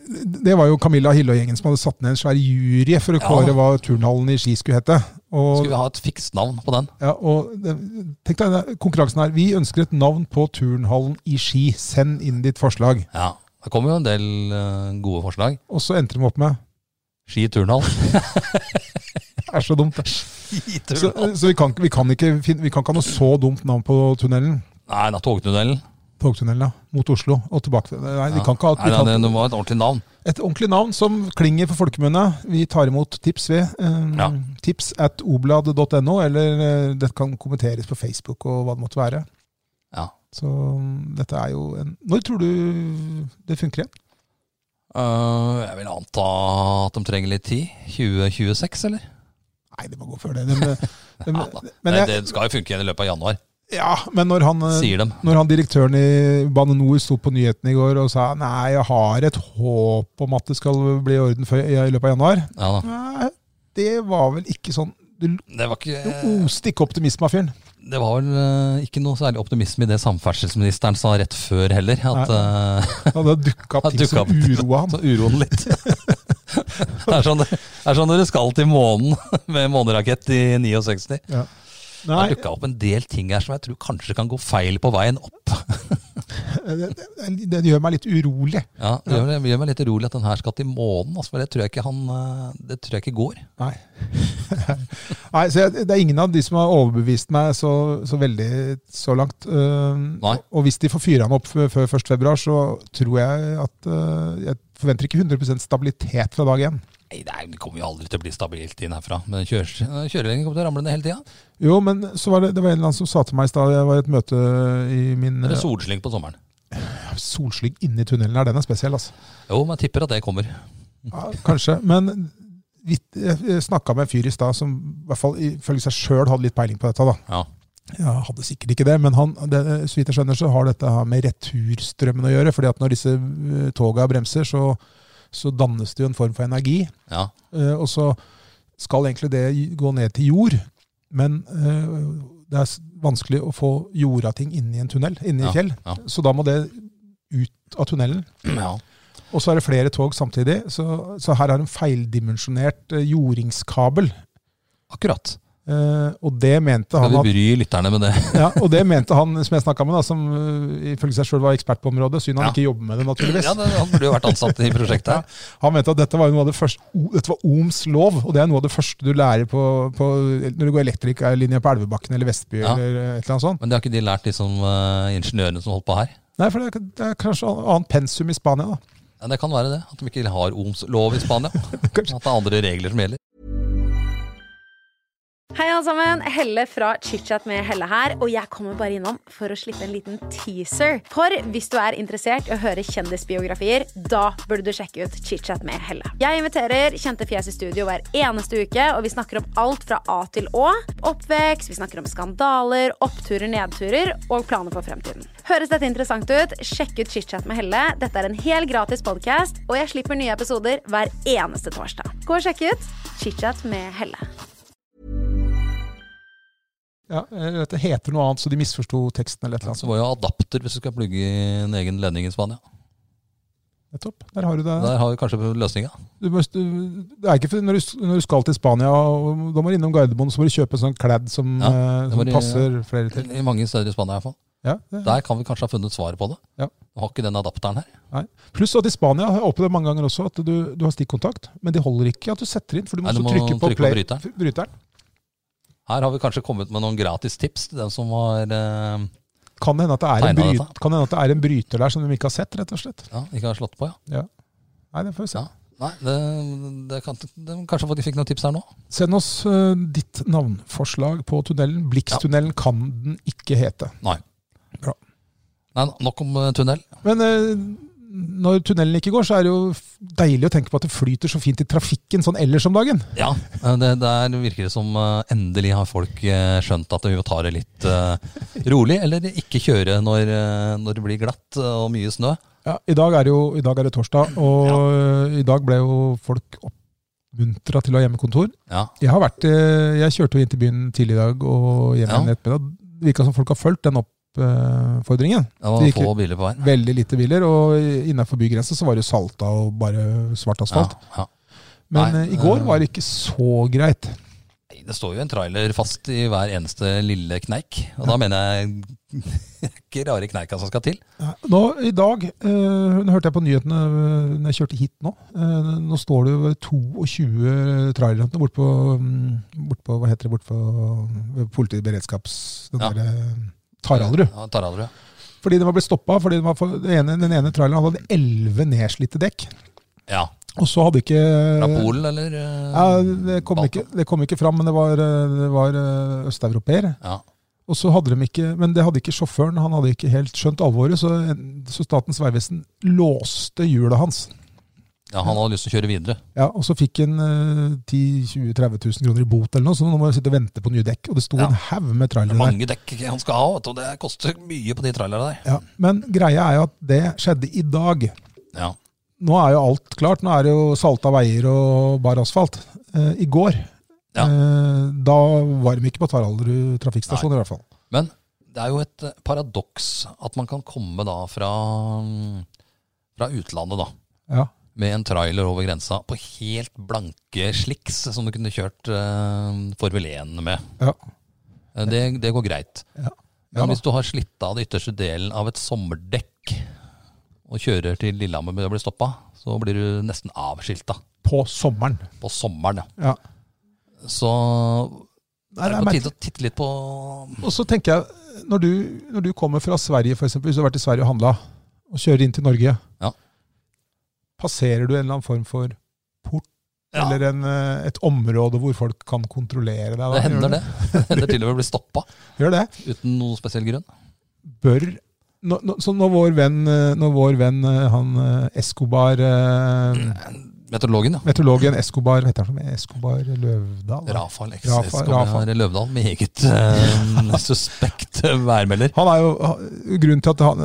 Speaker 3: Det var jo Camilla Hille og gjengen som hadde satt ned en svær jury for å
Speaker 2: Ja.
Speaker 3: kåre hva turnhallen i Ski skulle hete. Og,
Speaker 2: Skulle vi ha et fikst navn på den?
Speaker 3: ja, og det- tenk deg denne konkurransen her. Vi ønsker et navn på turnhallen i Ski. Send inn ditt forslag.
Speaker 2: Ja. Det kom jo en del eh, gode forslag.
Speaker 3: Og så endte de opp med *laughs*
Speaker 2: Ski turnhall.
Speaker 3: Det er så dumt.
Speaker 2: Ski
Speaker 3: Så, så vi, kan, ikke- vi, kan ikke, finne- vi kan ikke ha noe så dumt navn på tunnelen.
Speaker 2: Nei, da, togtunnelen.
Speaker 3: Togtunnelen, ja. Mot Oslo og tilbake. Nei, vi
Speaker 2: Ja.
Speaker 3: kan ikke ha
Speaker 2: Nei,
Speaker 3: vi
Speaker 2: nei,
Speaker 3: kan,
Speaker 2: det, det var et ordentlig navn.
Speaker 3: Et ordentlig navn som klinger for folkemunne. Vi tar imot tips ved. Eh,
Speaker 2: Ja.
Speaker 3: Tips at oblad.no, eller eh, det kan kommenteres på Facebook og hva det måtte være.
Speaker 2: Ja.
Speaker 3: Så mm, dette er jo en Når tror du det funker igjen?
Speaker 2: Eh, jeg vil anta at de trenger litt tid. 2026, eller?
Speaker 3: Nei, det må gå før det.
Speaker 2: *laughs*
Speaker 3: Det må- det
Speaker 2: Ja,
Speaker 3: må-
Speaker 2: da.
Speaker 3: men,
Speaker 2: Nei,
Speaker 3: jeg,
Speaker 2: det skal jo funke igjen i løpet av januar,
Speaker 3: ja, men når han eh,
Speaker 2: sier de.
Speaker 3: når han direktøren i Bane NOR sto på nyhetene i går og sa nei, jeg har et håp om at det skal bli i orden før, i løpet av januar,
Speaker 2: Ja, da.
Speaker 3: nei, det var vel ikke sånn Du
Speaker 2: Det var ikke
Speaker 3: du oste ikke optimisme av fyren.
Speaker 2: Det var vel eh, ikke noe særlig optimisme i det samferdselsministeren sa rett før heller. At eh, *laughs*
Speaker 3: Ja, det dukka opp
Speaker 2: At
Speaker 3: ting
Speaker 2: dukket
Speaker 3: som
Speaker 2: opp ting.
Speaker 3: uroa
Speaker 2: så
Speaker 3: han.
Speaker 2: uroen litt. *laughs* det er sånn, det er sånn dere skal til månen *laughs* med månerakett i 69. Det
Speaker 3: Nei,
Speaker 2: har dukka opp en del ting her som jeg tror kanskje kan gå feil på veien opp.
Speaker 3: det, det- det gjør meg litt urolig.
Speaker 2: Ja, Det gjør, det gjør meg litt urolig at den her skal til månen, altså, for det tror jeg ikke, han, eh, det tror jeg ikke går.
Speaker 3: Nei. *laughs* Nei så jeg, det er ingen av de som har overbevist meg så, så veldig så langt. Ehm,
Speaker 2: Nei.
Speaker 3: Og hvis de får fyra han opp før før 1. februar, så tror jeg at eh, Jeg forventer ikke 100 stabilitet fra dag én.
Speaker 2: Nei, det, er, det kommer jo aldri til å bli stabilt inn herfra. Men kjøres- eh, kjøreledningen kommer til å ramle ned hele tida.
Speaker 3: Jo, men så var det, det var en eller annen som sa til meg i stad Jeg var i et møte i min øh,
Speaker 2: Eller solslyng på sommeren.
Speaker 3: Ja, Solslyng inni tunnelen her, den er spesiell, altså.
Speaker 2: Jo, men jeg tipper at det kommer.
Speaker 3: Ja, kanskje. Men vi snakka med en fyr i stad som i hvert fall ifølge seg sjøl hadde litt peiling på dette. da.
Speaker 2: Ja.
Speaker 3: Ja, hadde sikkert ikke det, men han, det, så vidt jeg skjønner, så har dette her med returstrømmen å gjøre. fordi at når disse eh, toga bremser, så, så dannes det jo en form for energi.
Speaker 2: Ja.
Speaker 3: Eh, Og så skal egentlig det gå ned til jord, men eh, det er s- vanskelig å få jorda ting inni en tunnel, inni
Speaker 2: Ja,
Speaker 3: fjell.
Speaker 2: ja.
Speaker 3: Så da må det ut av tunnelen.
Speaker 2: ja.
Speaker 3: Og så er det flere tog samtidig, så, så her er en feildimensjonert eh, jordingskabel.
Speaker 2: Akkurat.
Speaker 3: Eh, og det mente han
Speaker 2: Skal
Speaker 3: at
Speaker 2: vi bry lytterne med
Speaker 3: *laughs*
Speaker 2: det?
Speaker 3: ja, og det mente han som jeg snakka med, da, som øh, ifølge seg sjøl var ekspert på området. Synd
Speaker 2: Ja.
Speaker 3: han ikke jobber med det, naturligvis.
Speaker 2: Ja, det, Han burde jo vært ansatt i prosjektet her.
Speaker 3: Han mente at dette var, noe av det første, o- dette var Ohms lov, og det er noe av det første du lærer på, på, når du går elektrikerlinja på Elvebakken eller Vestby
Speaker 2: Ja.
Speaker 3: eller eh, et eller annet
Speaker 2: Men
Speaker 3: sånt.
Speaker 2: det har ikke de lært, liksom eh, ingeniørene som holdt på her?
Speaker 3: Nei, for det er, det er kanskje annet pensum i Spania, da.
Speaker 2: Ja, det kan være det. At de ikke har Ohms lov i
Speaker 3: *laughs*
Speaker 2: Spania. At det er andre regler som gjelder.
Speaker 4: Hei alle sammen, Helle fra ChitChat med Helle her, og jeg kommer bare innom for å slippe en liten teaser. For hvis du er interessert i å høre kjendisbiografier, da burde du sjekke ut ChitChat med Helle. Jeg inviterer kjente fjes i studio hver eneste uke, og vi snakker om alt fra A til Å. Oppvekst, vi snakker om skandaler, oppturer, nedturer og planer for fremtiden. Høres dette interessant ut? Sjekk ut ChitChat med Helle. Dette er en hel gratis podkast, og jeg slipper nye episoder hver eneste torsdag. Gå og sjekk ut ChitChat med Helle.
Speaker 3: Ja, eller dette heter noe annet, så de misforsto teksten eller et eller
Speaker 2: Så
Speaker 3: annet.
Speaker 2: må jo ha adapter hvis du skal plugge i en egen ledning i Spania.
Speaker 3: sånt. Nettopp. Der har du det.
Speaker 2: Der har vi kanskje løsninga.
Speaker 3: Du må, du, det er ikke for, når, du, s- når du skal til Spania, og, da må du innom Gardermoen, så må du kjøpe en sånn kledd som,
Speaker 2: Ja,
Speaker 3: eh,
Speaker 2: det må
Speaker 3: som
Speaker 2: du-
Speaker 3: passer flere til.
Speaker 2: I mange steder i Spania i hvert fall.
Speaker 3: Ja, det,
Speaker 2: Der kan vi kanskje ha funnet svaret på det.
Speaker 3: Ja.
Speaker 2: Du har ikke den adapteren her.
Speaker 3: Nei. Pluss at i Spania har jeg opplevd det mange ganger også at du, du har stikkontakt, men de holder ikke at du setter inn, for du må,
Speaker 2: Nei, du
Speaker 3: også
Speaker 2: må
Speaker 3: trykke på,
Speaker 2: trykke på
Speaker 3: play,
Speaker 2: bryteren.
Speaker 3: f- bryteren.
Speaker 2: Her har vi kanskje kommet med noen gratis tips til den som har eh,
Speaker 3: Kan hende, at det er en
Speaker 2: Tegnet
Speaker 3: bryt,
Speaker 2: dette.
Speaker 3: kan hende at det er en bryter der som de ikke har sett, rett og slett.
Speaker 2: ja, ikke har slått på. ja.
Speaker 3: Ja. Nei, det får vi se.
Speaker 2: Ja. Nei, det, det kan, det, Kanskje folk fikk noen tips her nå?
Speaker 3: Send oss eh, ditt navnforslag på tunnelen. Blikstunnelen kan den ikke hete.
Speaker 2: Nei.
Speaker 3: Bra.
Speaker 2: Nei, nok om eh, tunnel.
Speaker 3: Men eh, når tunnelen ikke går, så er det jo f- deilig å tenke på at det flyter så fint i trafikken sånn ellers om dagen.
Speaker 2: Ja, eh, det, Der virker det som eh, endelig har folk eh, skjønt at vi må ta det litt eh, rolig. Eller ikke kjøre når, eh, når det blir glatt eh, og mye snø.
Speaker 3: Ja, I dag er det jo i dag er det torsdag, og eh, i dag ble jo folk oppmuntra til å ha hjemmekontor.
Speaker 2: Ja,
Speaker 3: Jeg har vært, eh, jeg kjørte jo inn til byen tidlig i dag og hjem
Speaker 2: Ja.
Speaker 3: igjen i ettermiddag. Det virka som folk har fulgt den oppfordringen.
Speaker 2: Det var
Speaker 3: Det gikk-
Speaker 2: få biler på veien.
Speaker 3: Veldig lite biler, og innafor bygrensa så var det jo salta og bare svart
Speaker 2: Ja,
Speaker 3: asfalt.
Speaker 2: ja.
Speaker 3: Men
Speaker 2: Nei,
Speaker 3: eh, i går
Speaker 2: eh,
Speaker 3: var det ikke så greit.
Speaker 2: Nei, Det står jo en trailer fast i hver eneste lille kneik. Og da mener jeg *laughs* ikke rare kneika som skal til.
Speaker 3: Nå, I dag eh, nå hørte jeg på nyhetene eh, når jeg kjørte hit nå. Eh, nå står det jo 22 trailere bortpå bort mm, på, Hva heter det bortpå politiberedskaps... Den
Speaker 2: Ja.
Speaker 3: der, eh, Taraldrud.
Speaker 2: Ja, Taraldrud.
Speaker 3: Fordi den var blitt stoppa. Fordi den, var for, den, ene, den ene traileren hadde elleve nedslitte dekk.
Speaker 2: Ja.
Speaker 3: Og så hadde ikke
Speaker 2: Fra Polen, eller?
Speaker 3: Eh, Ja,
Speaker 2: eh,
Speaker 3: det kom,
Speaker 2: Balkan?
Speaker 3: ikke, det kom ikke fram, men det var, eh, det var eh, østeuropeer.
Speaker 2: Ja.
Speaker 3: Og så hadde de ikke, Men det hadde ikke sjåføren. Han hadde ikke helt skjønt alvoret, så, så Statens vegvesen låste hjulet hans.
Speaker 2: ja, han hadde lyst til å kjøre videre.
Speaker 3: Ja, Og så fikk han eh, 10 20 30 000 kroner i bot, eller noe, så nå må han sitte og vente på nye dekk. Og det sto
Speaker 2: Ja.
Speaker 3: en haug med
Speaker 2: Det er
Speaker 3: trailere der.
Speaker 2: mange dekk han skal ha, vet du, og det koster mye på de trailerne der.
Speaker 3: Ja, men greia er jo at det skjedde i dag.
Speaker 2: Ja.
Speaker 3: Nå er jo alt klart. Nå er det jo salta veier og bar asfalt. Eh, I går
Speaker 2: Ja.
Speaker 3: eh, Da var de ikke på Taraldrud trafikkstasjon, i hvert fall.
Speaker 2: Men det er jo et eh, paradoks at man kan komme da fra, mm, fra utlandet, da.
Speaker 3: Ja.
Speaker 2: Med en trailer over grensa på helt blanke sliks som du kunne kjørt eh, Formel 1 med.
Speaker 3: ja.
Speaker 2: Eh, Det, det går greit.
Speaker 3: Ja,
Speaker 2: Men hvis du har slitt av den ytterste delen av et sommerdekk og kjører til Lillehammer og blir stoppa, så blir du nesten avskilta
Speaker 3: på sommeren.
Speaker 2: på sommeren. ja.
Speaker 3: Ja.
Speaker 2: Så
Speaker 3: Nei,
Speaker 2: er
Speaker 3: det
Speaker 2: det
Speaker 3: er
Speaker 2: på
Speaker 3: merkelig.
Speaker 2: tide å titte litt på
Speaker 3: Og så tenker jeg, når du, når du kommer fra Sverige f.eks., hvis du har vært i Sverige og handla, og kjører inn til Norge,
Speaker 2: Ja.
Speaker 3: passerer du en eller annen form for port
Speaker 2: Ja.
Speaker 3: eller en, eh, et område hvor folk kan kontrollere deg? da?
Speaker 2: Det
Speaker 3: Gjør
Speaker 2: hender
Speaker 3: du
Speaker 2: det. Det *laughs* hender til og med å bli stoppa
Speaker 3: Gjør det.
Speaker 2: uten noen spesiell grunn.
Speaker 3: Bør nå-
Speaker 2: Mm.
Speaker 3: nå- så når vår venn, eh, når vår venn eh, han eh, Escobar eh,
Speaker 2: Meteorologen, ja.
Speaker 3: Meteorologen Escobar heter han for noe? Escobar Løvdahl? da?
Speaker 2: Rafael X.
Speaker 3: Rafa-
Speaker 2: Escobar
Speaker 3: Rafa.
Speaker 2: Løvdahl. Meget
Speaker 3: *laughs*
Speaker 2: eh, suspekt værmelder.
Speaker 3: Han er jo, grunnen til at han,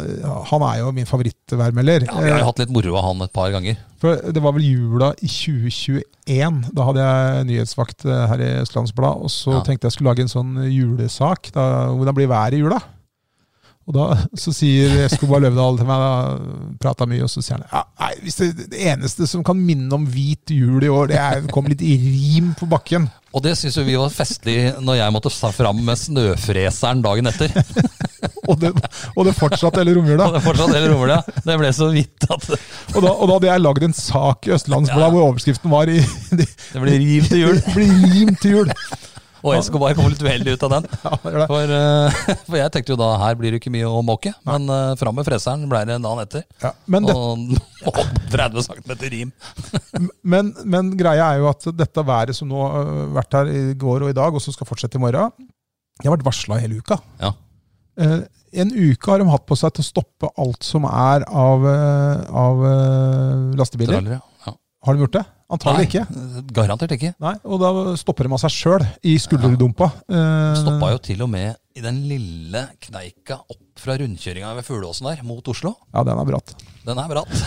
Speaker 3: han er jo min favorittværmelder.
Speaker 2: Ja, vi har jo hatt litt moro av han et par ganger.
Speaker 3: For det var vel jula i 2021. Da hadde jeg nyhetsvakt eh, her i Østlandsblad, og så
Speaker 2: Ja.
Speaker 3: tenkte jeg skulle lage en sånn julesak. Da, hvordan blir været i jula? Og da *laughs* så sier Escobar Løvdahl til meg, da prata mye, og så sier han ja, nei, hvis det, det eneste som kan minne om hvit jul i år, det er kom litt i rim på bakken.
Speaker 2: Og det syns jo vi var festlig når jeg måtte ta fram med snøfreseren dagen
Speaker 3: *laughs*
Speaker 2: etter.
Speaker 3: Og det, og det fortsatte hele romjula.
Speaker 2: Og det fortsatt hele romjula. Det ble så vidt at det
Speaker 3: Og da, og da hadde jeg lagd en sak i Østlandsbladet
Speaker 2: Ja.
Speaker 3: hvor overskriften var i,
Speaker 2: ble riv til
Speaker 3: *laughs*
Speaker 2: jul.
Speaker 3: Det blir rim til jul.
Speaker 2: Og Escobar kom litt uheldig ut av den.
Speaker 3: Ja, det gjør det.
Speaker 2: For, eh, for jeg tenkte jo da her blir det ikke mye å måke, men uh, fram med freseren ble det dagen etter.
Speaker 3: Ja, men det-
Speaker 2: og, og *laughs* 30 cm rim.
Speaker 3: Men, men greia er jo at dette været som nå har vært her i går og i dag, og som skal fortsette i morgen Jeg har vært varsla hele uka.
Speaker 2: Ja.
Speaker 3: Eh, en uke har de hatt på seg til å stoppe alt som er av, eh, av eh, lastebiler.
Speaker 2: Traller, ja.
Speaker 3: Har de gjort det? Antagelig
Speaker 2: Nei,
Speaker 3: ikke.
Speaker 2: Garantert ikke.
Speaker 3: Nei, Og da stopper de av seg sjøl i skulderdumpa. Eh,
Speaker 2: Stoppa jo til og med i den lille kneika opp fra rundkjøringa ved Fugleåsen der, mot Oslo.
Speaker 3: Ja, den er bratt.
Speaker 2: Den er bratt. *laughs*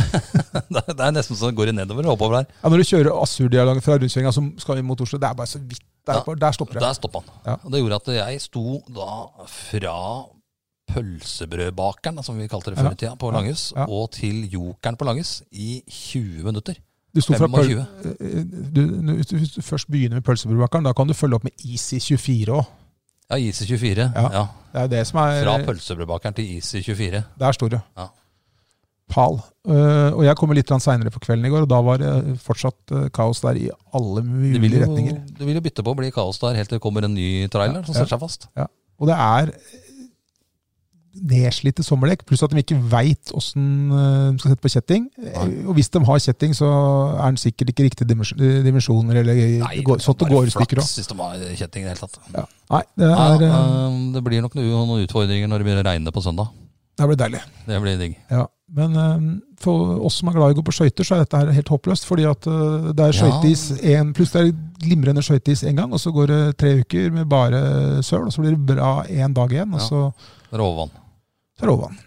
Speaker 2: det er- det er nesten så det går i nedover og oppover der.
Speaker 3: Ja, Når du kjører Asur-dialogen fra rundkjøringa som skal inn mot Oslo, det er bare så vidt der,
Speaker 2: Ja,
Speaker 3: på- der stopper det.
Speaker 2: Der stoppa han.
Speaker 3: Ja.
Speaker 2: Og det gjorde at jeg sto da fra pølsebrødbakeren, som vi kalte det
Speaker 3: Ja.
Speaker 2: før i tida, på
Speaker 3: Ja.
Speaker 2: Langhus,
Speaker 3: Ja.
Speaker 2: og til jokeren på Langhus i 20 minutter.
Speaker 3: Du sto fra
Speaker 2: 25.
Speaker 3: pøl- eh, du, du- hvis du først begynner med pølsebrødbakeren, da kan du følge opp med Easy 24 òg.
Speaker 2: Ja, IC24.
Speaker 3: Ja. Eh,
Speaker 2: Ja.
Speaker 3: Det er jo det som er
Speaker 2: Fra pølsebrødbakeren til IC24.
Speaker 3: Der står det.
Speaker 2: Ja.
Speaker 3: Pal. Eh, og jeg kommer litt seinere på kvelden i går, og da var det fortsatt eh, kaos der i alle
Speaker 2: Det
Speaker 3: mulige
Speaker 2: vil, jo,
Speaker 3: retninger.
Speaker 2: det vil jo bytte på å bli kaos der helt til det kommer en ny trailer som
Speaker 3: Ja.
Speaker 2: setter seg fast.
Speaker 3: Og det er eh, nedslitte sommerdekk, pluss at de ikke veit åssen de skal sette på kjetting. Eh,
Speaker 2: Nei.
Speaker 3: Og hvis de har kjetting, så er den sikkert ikke riktige dimensjon- eh, dimensjoner, eller det går, sånn at det går i stykker òg.
Speaker 2: Hvis de har kjetting i det hele tatt.
Speaker 3: Ja. Nei, det
Speaker 2: Ja,
Speaker 3: er, eh,
Speaker 2: eh, det blir nok noe- noen utfordringer når det begynner å regne på søndag.
Speaker 3: det blir deilig.
Speaker 2: Det blir digg.
Speaker 3: Ja, men eh, for oss som er glad i å gå på skøyter, så er dette her helt håpløst. Fordi at eh, det
Speaker 2: Ja.
Speaker 3: er skøyteis en- pluss det er glimrende skøyteis én gang, og så går det tre uker med bare søl, og så blir det bra én dag igjen, og
Speaker 2: Ja.
Speaker 3: så,
Speaker 2: Råvann.
Speaker 3: så er det overvann.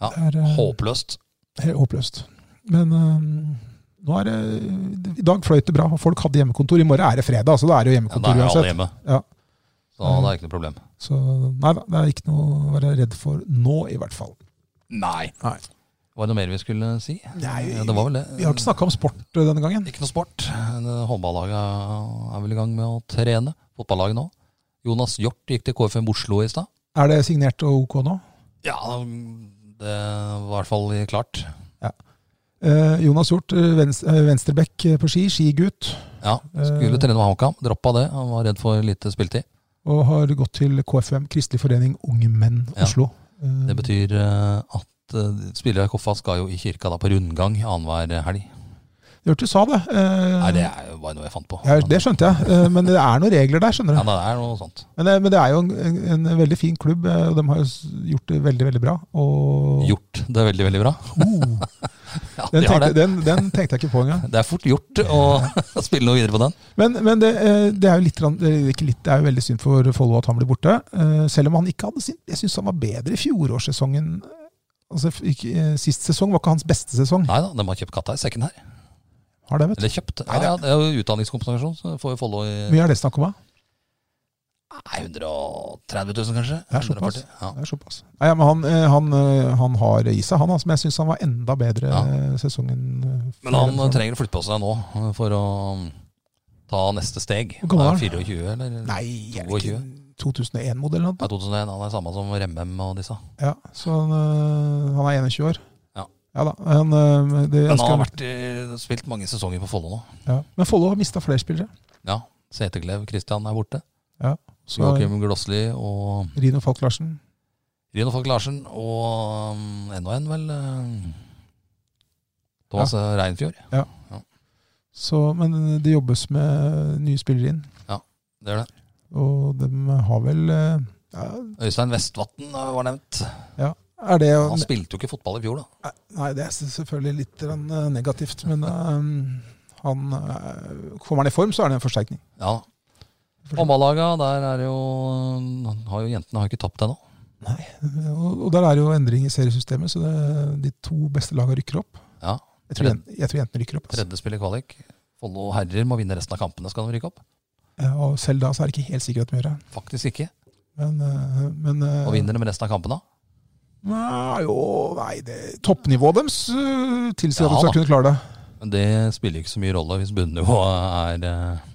Speaker 2: Ja,
Speaker 3: Det er eh,
Speaker 2: Håpløst.
Speaker 3: helt håpløst. Men eh, nå er det I dag fløyt det bra, og folk hadde hjemmekontor. I morgen er det fredag, så da er det jo
Speaker 2: Ja, da
Speaker 3: hjemmekontor
Speaker 2: er alle
Speaker 3: uansett.
Speaker 2: hjemme.
Speaker 3: Ja.
Speaker 2: Så det er ikke noe problem.
Speaker 3: Så nei da, det er ikke noe å være redd for nå, i hvert fall.
Speaker 2: Nei.
Speaker 3: Nei.
Speaker 2: Var det noe mer vi skulle si?
Speaker 3: Nei,
Speaker 2: Ja, det var vel det.
Speaker 3: Vi har ikke snakka om sport eh, denne gangen.
Speaker 2: Ikke noe sport. Det- Håndballaget er vel i gang med å trene. Fotballaget nå. Jonas Hjort gikk til KFM Oslo i stad.
Speaker 3: Er det signert og ok nå?
Speaker 2: Ja, det var i hvert fall klart.
Speaker 3: Eh, Jonas Hjort, eh, vens- eh, venstrebekk eh, på ski, skigutt,
Speaker 2: Ja,
Speaker 3: Eh.
Speaker 2: Skulle trene med HamKam. Droppa det. Han var redd for lite spilletid.
Speaker 3: og har gått til KFM, Kristelig forening Unge Menn
Speaker 2: Ja.
Speaker 3: Oslo. Eh,
Speaker 2: Det betyr eh, at eh, spillere i Koffa skal jo i kirka da på rundgang annenhver helg.
Speaker 3: jeg hørte du sa det. eh,
Speaker 2: Nei, det er jo bare noe jeg fant på.
Speaker 3: ja, det skjønte jeg, eh, men det er noen regler der, skjønner du.
Speaker 2: Ja, det er noe sånt.
Speaker 3: Men, det- men det er jo en, en, en veldig fin klubb, eh, og de har jo s- gjort det veldig, veldig bra. Og,
Speaker 2: Gjort det er veldig, veldig bra.
Speaker 3: Oh,
Speaker 2: Ja, *laughs*
Speaker 3: den,
Speaker 2: de har
Speaker 3: tenkte,
Speaker 2: det.
Speaker 3: den, den tenkte jeg ikke på engang.
Speaker 2: Det er fort gjort å *laughs* spille noe videre på den.
Speaker 3: Men, men det, eh, det er jo litt, grann- eh, ikke litt, det er jo veldig synd for Follo at han blir borte. Eh, Selv om han ikke hadde sin Jeg syns han var bedre i fjorårssesongen. Altså, f- ikke- eh, sist sesong var ikke hans beste sesong.
Speaker 2: Nei da, de har kjøpt katta i sekken her.
Speaker 3: Har det, vet du.
Speaker 2: Eller kjøpt.
Speaker 3: Nei,
Speaker 2: Ja, ja, det er jo utdanningskompensasjon, så får jo Follo i
Speaker 3: Hvor mye er det snakk om? da?
Speaker 2: nei, 130 000 kanskje.
Speaker 3: Det er såpass.
Speaker 2: 140 000, Ja.
Speaker 3: Det er såpass. Nei, ja, men han, eh, han, eh, han har i seg, han. altså, Men jeg syns han var enda bedre
Speaker 2: Ja.
Speaker 3: eh, sesongen eh,
Speaker 2: Men han
Speaker 3: før-
Speaker 2: trenger å flytte på seg nå eh, for å ta neste steg.
Speaker 3: Hvor gammel er han?
Speaker 2: 24, eller?
Speaker 3: Nei, er det ikke 2001-modell eller
Speaker 2: Ja,
Speaker 3: noe?
Speaker 2: 2001, han er samme som Remmem og disse.
Speaker 3: Ja, så han, eh, han er 21 år.
Speaker 2: Ja.
Speaker 3: da. Han, eh, det,
Speaker 2: Men han har
Speaker 3: skal,
Speaker 2: vært, eh, spilt mange sesonger på Follo nå.
Speaker 3: ja. Men Follo har mista flere spillere.
Speaker 2: Ja, Seterklev Kristian er borte.
Speaker 3: Så
Speaker 2: Joakim Glossli og
Speaker 3: eh, Rino Falk Larsen.
Speaker 2: Rino Falk Larsen. Og mm, enda en, vel. eh, Thomas eh, Reinfjord.
Speaker 3: Så, men det jobbes med nye spillere inn.
Speaker 2: Det er det.
Speaker 3: Og de har vel eh, ja,
Speaker 2: Øystein Vestvatn eh, var nevnt.
Speaker 3: Er det
Speaker 2: Han spilte jo ikke fotball i fjor, da.
Speaker 3: Nei, det er selvfølgelig litt grann, eh, negativt, men eh, Han, eh, kommer han i form, så er det en forsterkning.
Speaker 2: Ja. Håndballaga, der er jo, har jo jentene har ikke tapt ennå.
Speaker 3: Nei, og, og der er jo endring i seriesystemet, så det, de to beste lagene rykker opp.
Speaker 2: Ja.
Speaker 3: Jeg tror, jen- jeg tror jentene rykker opp. Altså.
Speaker 2: Tredje spill i kvalik. Follo herrer må vinne resten av kampene, skal de rykke opp?
Speaker 3: Ja, Og selv da så er det ikke helt sikkert at de gjør det.
Speaker 2: Faktisk ikke.
Speaker 3: Men, eh, men eh,
Speaker 2: Og vinner de resten av kampene?
Speaker 3: Nei, jo, nei det, toppnivået deres eh, tilsier
Speaker 2: Ja,
Speaker 3: at de
Speaker 2: da.
Speaker 3: skal kunne klare det.
Speaker 2: Men det spiller ikke så mye rolle hvis bunnivået er eh,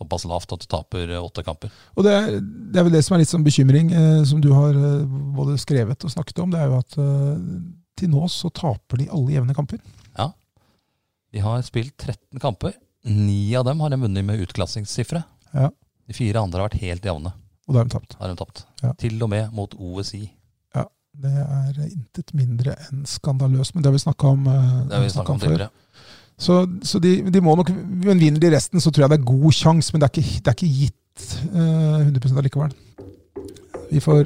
Speaker 2: såpass lavt at du taper eh, åtte kamper.
Speaker 3: Og det, er- det er vel det som er litt sånn bekymring, eh, som du har eh, både skrevet og snakket om, det er jo at eh, til nå så taper de alle jevne kamper.
Speaker 2: De har spilt 13 kamper. Ni av dem har de vunnet med utklassingssifre.
Speaker 3: Ja.
Speaker 2: De fire andre har vært helt jevne.
Speaker 3: Og da har de tapt.
Speaker 2: har de tapt.
Speaker 3: Ja.
Speaker 2: Til og med mot OSI.
Speaker 3: Det er intet mindre enn skandaløst, men det har vi snakka om, eh,
Speaker 2: Det har vi snakket om
Speaker 3: før.
Speaker 2: tidligere.
Speaker 3: Så, så de, de må nok, men vinner de resten, så tror jeg det er god sjanse, men det er ikke, det er ikke gitt eh, 100 allikevel. Vi får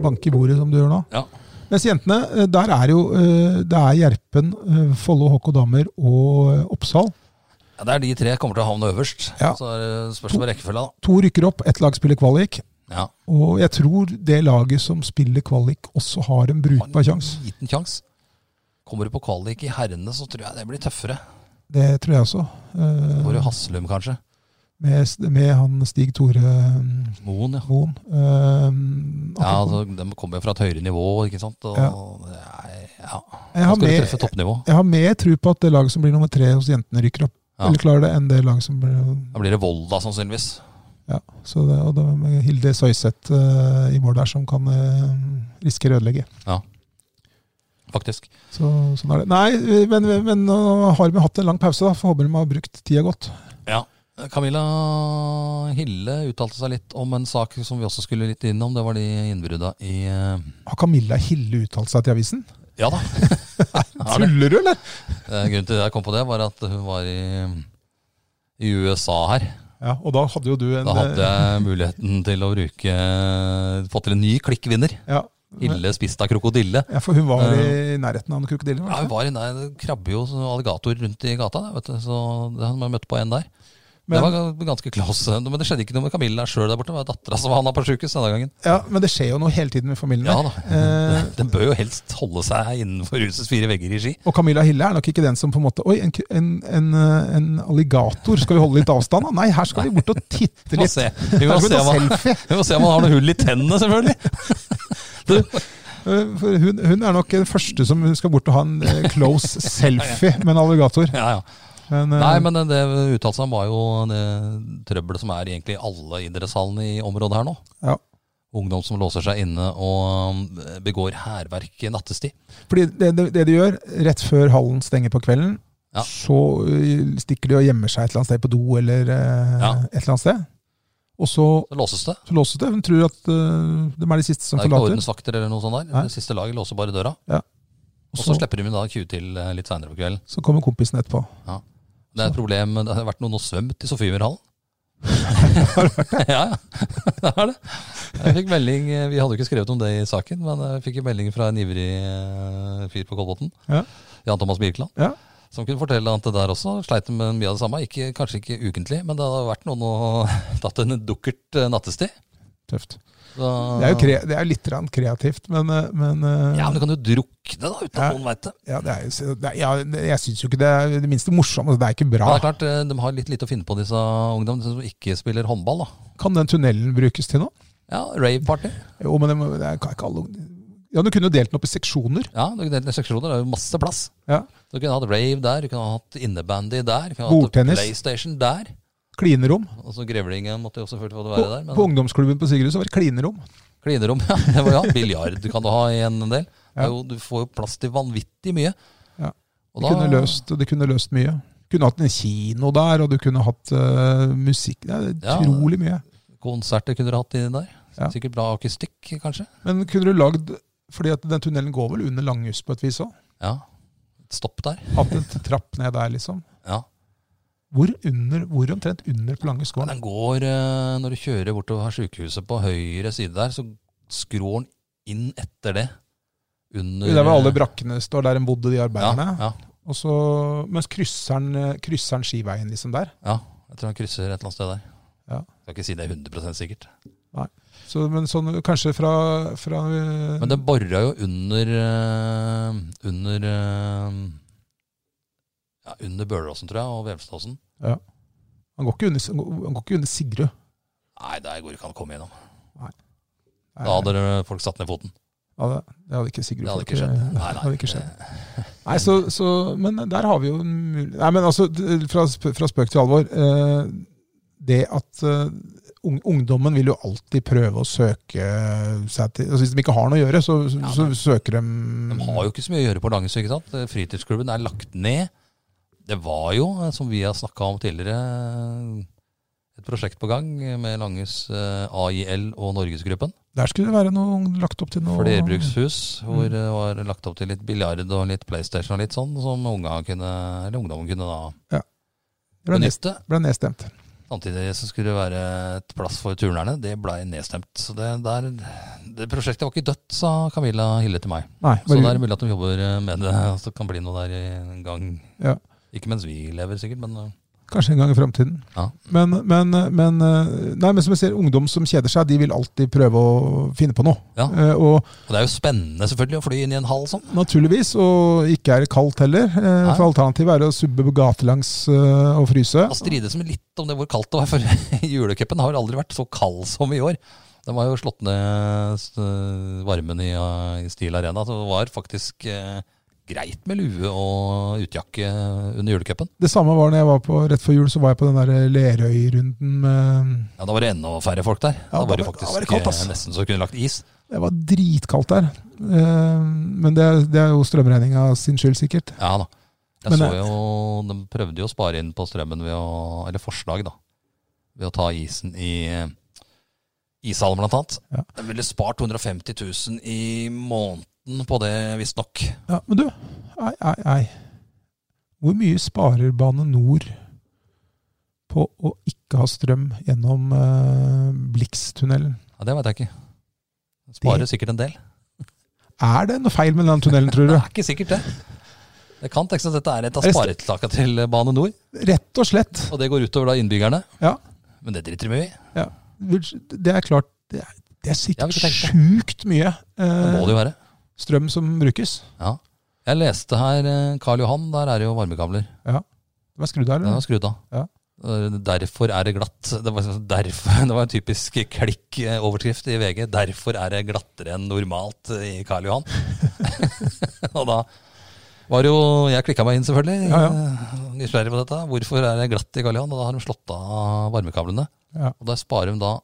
Speaker 3: banke i bordet, som du gjør nå.
Speaker 2: Ja.
Speaker 3: Mens jentene, eh, der er jo eh, det er Gjerpen, eh, Follo HK Damer og eh, Oppsal.
Speaker 2: Ja, det er de tre kommer til å havne øverst.
Speaker 3: Ja.
Speaker 2: Så er det spørsmål om rekkefølga, da.
Speaker 3: To rykker opp, ett lag spiller kvalik.
Speaker 2: Ja.
Speaker 3: Og jeg tror det laget som spiller kvalik, også har en brukbar sjanse.
Speaker 2: Liten sjanse. Kommer du på kvalik i herrene, så tror jeg det blir tøffere.
Speaker 3: Det tror jeg også.
Speaker 2: Da
Speaker 3: Eh,
Speaker 2: Går jo Haslum, kanskje.
Speaker 3: med, med han Stig Tore eh,
Speaker 2: Moen, ja.
Speaker 3: Moen. Eh,
Speaker 2: ja altså, de kommer jo fra et høyere nivå, ikke sant. Og,
Speaker 3: Ja.
Speaker 2: Nei, ja.
Speaker 3: jeg
Speaker 2: Da
Speaker 3: har
Speaker 2: skal du
Speaker 3: med,
Speaker 2: treffe toppnivå.
Speaker 3: Jeg har mer tro på at det laget som blir nummer tre hos jentene, rykker opp.
Speaker 2: Ja.
Speaker 3: Eller klarer det, enn det laget som blir
Speaker 2: Da blir det Volda, sannsynligvis.
Speaker 3: ja, så det, Og da med Hilde Søyseth eh, i mål der, som kan eh, risikere å ødelegge.
Speaker 2: Faktisk.
Speaker 3: Så, sånn er det. Nei, men, men nå har vi hatt en lang pause, da. Får håpe de har brukt tida godt.
Speaker 2: Ja. Camilla Hille uttalte seg litt om en sak som vi også skulle litt innom. Det var de innbrudda i eh,
Speaker 3: Har Camilla Hille uttalt seg til avisen?
Speaker 2: Ja da. Har det.
Speaker 3: Tuller du, eller?
Speaker 2: Eh, Grunnen til at jeg kom på det, var at hun var i, i USA her.
Speaker 3: Ja, og da hadde jo du en
Speaker 2: Da hadde jeg muligheten til å bruke Få til en ny klikkvinner.
Speaker 3: eh, ja,
Speaker 2: Ille spist av krokodille.
Speaker 3: ja, for hun var i nærheten av en krokodille?
Speaker 2: Eh.
Speaker 3: var
Speaker 2: Ja,
Speaker 3: det
Speaker 2: hun
Speaker 3: ikke?
Speaker 2: var i nær- Det krabber jo sånn alligator rundt i gata, vet du. så det har man møtt på en der.
Speaker 3: Men-
Speaker 2: det var ga- ganske close. Men det skjedde ikke noe med Camilla sjøl der borte. Det var dattera som havna på sjukehus denne gangen.
Speaker 3: ja, Men det skjer jo noe hele tiden med familien.
Speaker 2: Ja
Speaker 3: der.
Speaker 2: da.
Speaker 3: Eh,
Speaker 2: Den bør jo helst holde seg innenfor husets fire vegger i Ski.
Speaker 3: Og Camilla Hille er nok ikke den som på en måte Oi, en, ku- en, en, eh, en alligator. Skal vi holde litt avstand? da? Nei, her skal vi bort og titte
Speaker 2: Vi må
Speaker 3: litt. *laughs*
Speaker 2: se, vi må
Speaker 3: Her skal
Speaker 2: se, om,
Speaker 3: vi ta
Speaker 2: han,
Speaker 3: selfie.
Speaker 2: *laughs* vi må se om han har noe hull i tennene,
Speaker 3: *laughs*
Speaker 2: selvfølgelig. Du,
Speaker 3: Eh, For hun, hun er nok den første som skal bort og ha en eh,
Speaker 2: *laughs*
Speaker 3: close selfie med en alligator.
Speaker 2: ja, ja.
Speaker 3: Men, eh,
Speaker 2: Nei, men det uttalelsen han var jo det trøbbelet som er egentlig i alle idrettshallene i området her nå.
Speaker 3: ja.
Speaker 2: Ungdom som låser seg inne og mm, begår hærverk i nattestid.
Speaker 3: Fordi det, det, det de gjør, rett før hallen stenger på kvelden,
Speaker 2: Ja.
Speaker 3: så eh, stikker de og gjemmer seg et eller annet sted på do eller eh,
Speaker 2: Ja.
Speaker 3: et eller annet sted. Og så,
Speaker 2: Så låses det.
Speaker 3: så låses det. Hun tror at eh, de er de siste som
Speaker 2: Det er ikke
Speaker 3: forlater.
Speaker 2: ordensvakter eller noe sånt der.
Speaker 3: Nei.
Speaker 2: Det siste laget låser bare døra. Og så
Speaker 3: så,
Speaker 2: slipper de da 20 til eh, litt seinere på kvelden.
Speaker 3: så kommer kompisen etterpå.
Speaker 2: Det er et problem. Det har vært noen og svømt i
Speaker 3: *laughs*
Speaker 2: Sofiemyrhallen. ja, ja. Det er det. Jeg fikk melding eh, Vi hadde jo ikke skrevet om det i saken, men jeg fikk en melding fra en ivrig eh, fyr på Kolbotn.
Speaker 3: Ja.
Speaker 2: Jan Thomas Birkeland.
Speaker 3: Ja.
Speaker 2: Som kunne fortelle at det der også sleit de med mye av det samme. Ikke, kanskje ikke ukentlig, men det hadde vært noen og *laughs* tatt en dukkert eh, nattestid.
Speaker 3: Tøft.
Speaker 2: Så,
Speaker 3: Det er jo kre, det er jo litt grann kreativt, men, eh, men eh,
Speaker 2: Ah. Ja, men du kan jo drukne da, uten
Speaker 3: Ja.
Speaker 2: at noen veit det.
Speaker 3: ja, det er, jo- det er, ja, jeg syns jo ikke det er det minste morsomt. Altså, det er ikke
Speaker 2: Men
Speaker 3: bra.
Speaker 2: det er klart, eh, de har litt lite å finne på, disse ungdommene som ikke spiller håndball. da.
Speaker 3: Kan den tunnelen brukes til noe?
Speaker 2: Ja, Rave-party.
Speaker 3: Jo, men det, må, det er kan ikke alle Ja, du kunne jo delt den opp i seksjoner.
Speaker 2: Ja, det er- det er seksjoner, det er jo masse plass.
Speaker 3: Ja.
Speaker 2: Du kunne hatt rave der, du kunne hatt innebandy der, du kunne hatt
Speaker 3: Bordtennis.
Speaker 2: PlayStation der.
Speaker 3: Klinerom.
Speaker 2: Og så Grevlingen måtte jo selvfølgelig få det
Speaker 3: På,
Speaker 2: være der.
Speaker 3: på
Speaker 2: Men
Speaker 3: ungdomsklubben på Sigrud så var det klinerom.
Speaker 2: klinerom, *laughs* ja. det var ja. Biljard kan du ha i en del. Det er
Speaker 3: Ja.
Speaker 2: Jo, du får jo plass til vanvittig mye.
Speaker 3: Ja.
Speaker 2: Og
Speaker 3: Det kunne løst, og det kunne løst mye. Du kunne hatt en kino der, og du kunne hatt eh, musikk Det er
Speaker 2: Ja.
Speaker 3: utrolig mye.
Speaker 2: Konserter kunne du hatt inni der.
Speaker 3: Ja.
Speaker 2: Sikkert bra akustikk, kanskje.
Speaker 3: Men kunne du lagd Fordi at den tunnelen går vel under Langhus på et vis òg?
Speaker 2: Ja. Et stopp der.
Speaker 3: Hatt
Speaker 2: *laughs*
Speaker 3: en trapp ned der, liksom.
Speaker 2: Ja.
Speaker 3: Hvor, under, hvor omtrent under på Langhus går den?
Speaker 2: Den går, eh, når du kjører bortover sykehuset på høyre side der, så skrår den inn etter det. Under
Speaker 3: Det er vel alle brakkene står der en bodde, de
Speaker 2: ja,
Speaker 3: arbeiderne.
Speaker 2: ja.
Speaker 3: Og så, mens krysser han- krysser han skiveien liksom der.
Speaker 2: Ja, jeg tror han krysser et eller annet sted der.
Speaker 3: Ja.
Speaker 2: Skal ikke si det 100 sikkert.
Speaker 3: Så, men sånn kanskje fra, fra eh,
Speaker 2: Men det bora jo under eh, Under eh, ja, Under Bøleråsen, tror jeg, og Vevstadåsen.
Speaker 3: han, går ikke under, han går ikke under Sigrud.
Speaker 2: Nei, der går ikke an å komme gjennom.
Speaker 3: Nei,
Speaker 2: Da hadde folk satt ned foten.
Speaker 3: ja, det- det hadde ikke Sigrud
Speaker 2: Det hadde
Speaker 3: fått,
Speaker 2: ikke skjedd.
Speaker 3: eh,
Speaker 2: Nei,
Speaker 3: hadde
Speaker 2: nei.
Speaker 3: ikke skjedd. Nei, så, så, men der har vi jo en mulighet Nei, men altså, d- fra, sp- fra spøk til alvor. Eh, det at eh, ung- ungdommen vil jo alltid prøve å søke seg til altså Hvis de ikke har noe å gjøre, så, så, så søker de
Speaker 2: De har jo ikke så mye å gjøre på Langesø, ikke sant? Fritidsklubben er lagt ned. Det var jo, eh, som vi har snakka om tidligere, eh, et prosjekt på gang med Langes eh, AIL og Norgesgruppen.
Speaker 3: Der skulle det være noe ung- lagt opp til noe
Speaker 2: Flerbrukshus, hvor det var lagt opp til litt biljard og litt PlayStation og litt sånn, som unga kunne, eller ungdommen kunne da
Speaker 3: Ble, nest,
Speaker 2: benytte.
Speaker 3: ble nedstemt.
Speaker 2: Samtidig så skulle det være et plass for turnerne. Det blei nedstemt. Så det, der, det prosjektet var ikke dødt, sa Camilla Hille til meg.
Speaker 3: Nei,
Speaker 2: Så det
Speaker 3: bare,
Speaker 2: er mulig at de jobber eh, med det, så det kan bli noe der i en gang.
Speaker 3: Ja.
Speaker 2: Ikke mens vi lever, sikkert, men øh,
Speaker 3: kanskje en gang i framtiden.
Speaker 2: Ja.
Speaker 3: Men, men, men, eh, nei, men som jeg ser, ungdom som kjeder seg, de vil alltid prøve å finne på noe.
Speaker 2: ja.
Speaker 3: Eh, og
Speaker 2: Og det er jo spennende selvfølgelig å fly inn i en hall sånn.
Speaker 3: Naturligvis, og ikke er det kaldt heller. eh,
Speaker 2: Nei.
Speaker 3: For alternativet er å subbe gatelangs eh, og fryse.
Speaker 2: Man strides med litt om det hvor kaldt det var, for *laughs* julecupen har aldri vært så kald som i år. Den var jo slått ned s- varmen i, øh, i Stil Arena, så det var faktisk eh, greit med lue og utjakke under julecupen.
Speaker 3: Det samme var når jeg var på, rett før jul, så var jeg på den der eh, Lerøy-runden med
Speaker 2: Ja, da var det enda færre folk der.
Speaker 3: Ja,
Speaker 2: da var
Speaker 3: da
Speaker 2: det
Speaker 3: var- da
Speaker 2: faktisk
Speaker 3: var det kaldt, ass.
Speaker 2: eh, nesten så kunne lagt is.
Speaker 3: Det var dritkaldt der. Eh, Men det, det er jo strømregninga sin skyld, sikkert.
Speaker 2: Ja da. Jeg
Speaker 3: Men eh,
Speaker 2: så
Speaker 3: det-
Speaker 2: jo, De prøvde jo å spare inn på strømmen ved å Eller forslag, da. Ved å ta isen i eh, ishallen, blant annet.
Speaker 3: Ja.
Speaker 2: De ville spart 250 000 i måneden på det, visstnok.
Speaker 3: Ja, Men du, ei, ei, ei. Hvor mye sparer Bane Nor på å ikke ha strøm gjennom eh, Blix-tunnelen?
Speaker 2: Ja, det veit jeg ikke. De Sparer
Speaker 3: Det-
Speaker 2: sikkert en del.
Speaker 3: Er det noe feil med den tunnelen,
Speaker 2: *laughs*
Speaker 3: tror
Speaker 2: Det
Speaker 3: du?
Speaker 2: er ikke sikkert, det. Det kan tenkes at dette er et av
Speaker 3: Er det st-
Speaker 2: sparetiltakene til Bane Nor,
Speaker 3: Rett og slett.
Speaker 2: og det går utover da innbyggerne.
Speaker 3: Ja.
Speaker 2: Men det driter de i.
Speaker 3: Det er klart Det er, det er
Speaker 2: Jeg har
Speaker 3: sikkert
Speaker 2: ikke tenkt det.
Speaker 3: sjukt mye
Speaker 2: Det må
Speaker 3: eh,
Speaker 2: det jo være.
Speaker 3: strøm som brukes.
Speaker 2: Ja. Jeg leste her eh, Karl Johan, der er det jo varmekabler.
Speaker 3: De er skrudd av,
Speaker 2: Den
Speaker 3: eller?
Speaker 2: var skrudd av.
Speaker 3: Ja.
Speaker 2: Eh, Derfor er det glatt. Det var, sånn- derfor, *laughs* det var en typisk klikk-overskrift i VG. 'Derfor er det glattere enn normalt' eh, i Karl Johan. *laughs* og da var det jo Jeg klikka meg inn, selvfølgelig.
Speaker 3: Ja, ja.
Speaker 2: eh, Nysgjerrig på dette. Hvorfor er det glatt i Karl Johan? Og da har de slått av varmekablene.
Speaker 3: Ja.
Speaker 2: Og da sparer de da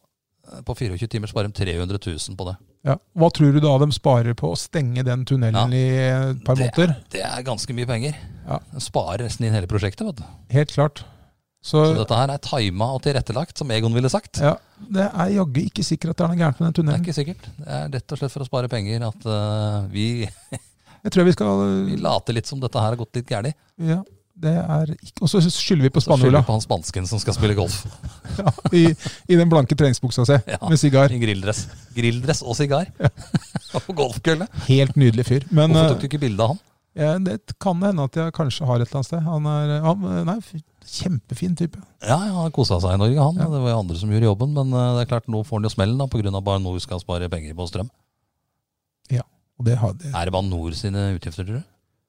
Speaker 2: eh, på 24 timer sparer de 300 000 på det.
Speaker 3: Ja. Hva tror du da de sparer på å stenge den tunnelen
Speaker 2: Ja.
Speaker 3: i et par
Speaker 2: Det-
Speaker 3: måneder?
Speaker 2: Det er ganske mye penger.
Speaker 3: Ja.
Speaker 2: De sparer nesten inn hele prosjektet. Vet du.
Speaker 3: Helt klart. Så,
Speaker 2: Så dette her er tima og tilrettelagt, som Egon ville sagt.
Speaker 3: ja, det er jaggu ikke sikkert at det er noe gærent med
Speaker 2: Det
Speaker 3: den
Speaker 2: er
Speaker 3: tunnelen.
Speaker 2: ikke sikkert. Det er rett og slett for å spare penger at eh, vi,
Speaker 3: Jeg tror vi skal
Speaker 2: vi later litt som dette her har gått litt gærent.
Speaker 3: ja, det er ikke, Og så skylder vi på
Speaker 2: Så skylder
Speaker 3: spanjola
Speaker 2: vi på han spansken som skal spille golf
Speaker 3: ja, i, i den blanke treningsbuksa si
Speaker 2: Ja.
Speaker 3: med sigar.
Speaker 2: i grilldress. Grilldress og sigar. *laughs* og golfkølle.
Speaker 3: Helt nydelig fyr. Men
Speaker 2: Hvorfor tok
Speaker 3: eh,
Speaker 2: du ikke bilde av han?
Speaker 3: ja, det kan hende at jeg kanskje har et eller annet sted. Han er han, nei, fy- kjempefin type.
Speaker 2: Ja, ja, Han kosa seg i Norge, han.
Speaker 3: Ja.
Speaker 2: Det var jo andre som gjorde jobben. Men eh, det er klart, nå får han jo smellen da, pga. Bane Nor skal spare penger på strøm.
Speaker 3: Og det har, det.
Speaker 2: Er det Bane Nor sine utgifter, tror du?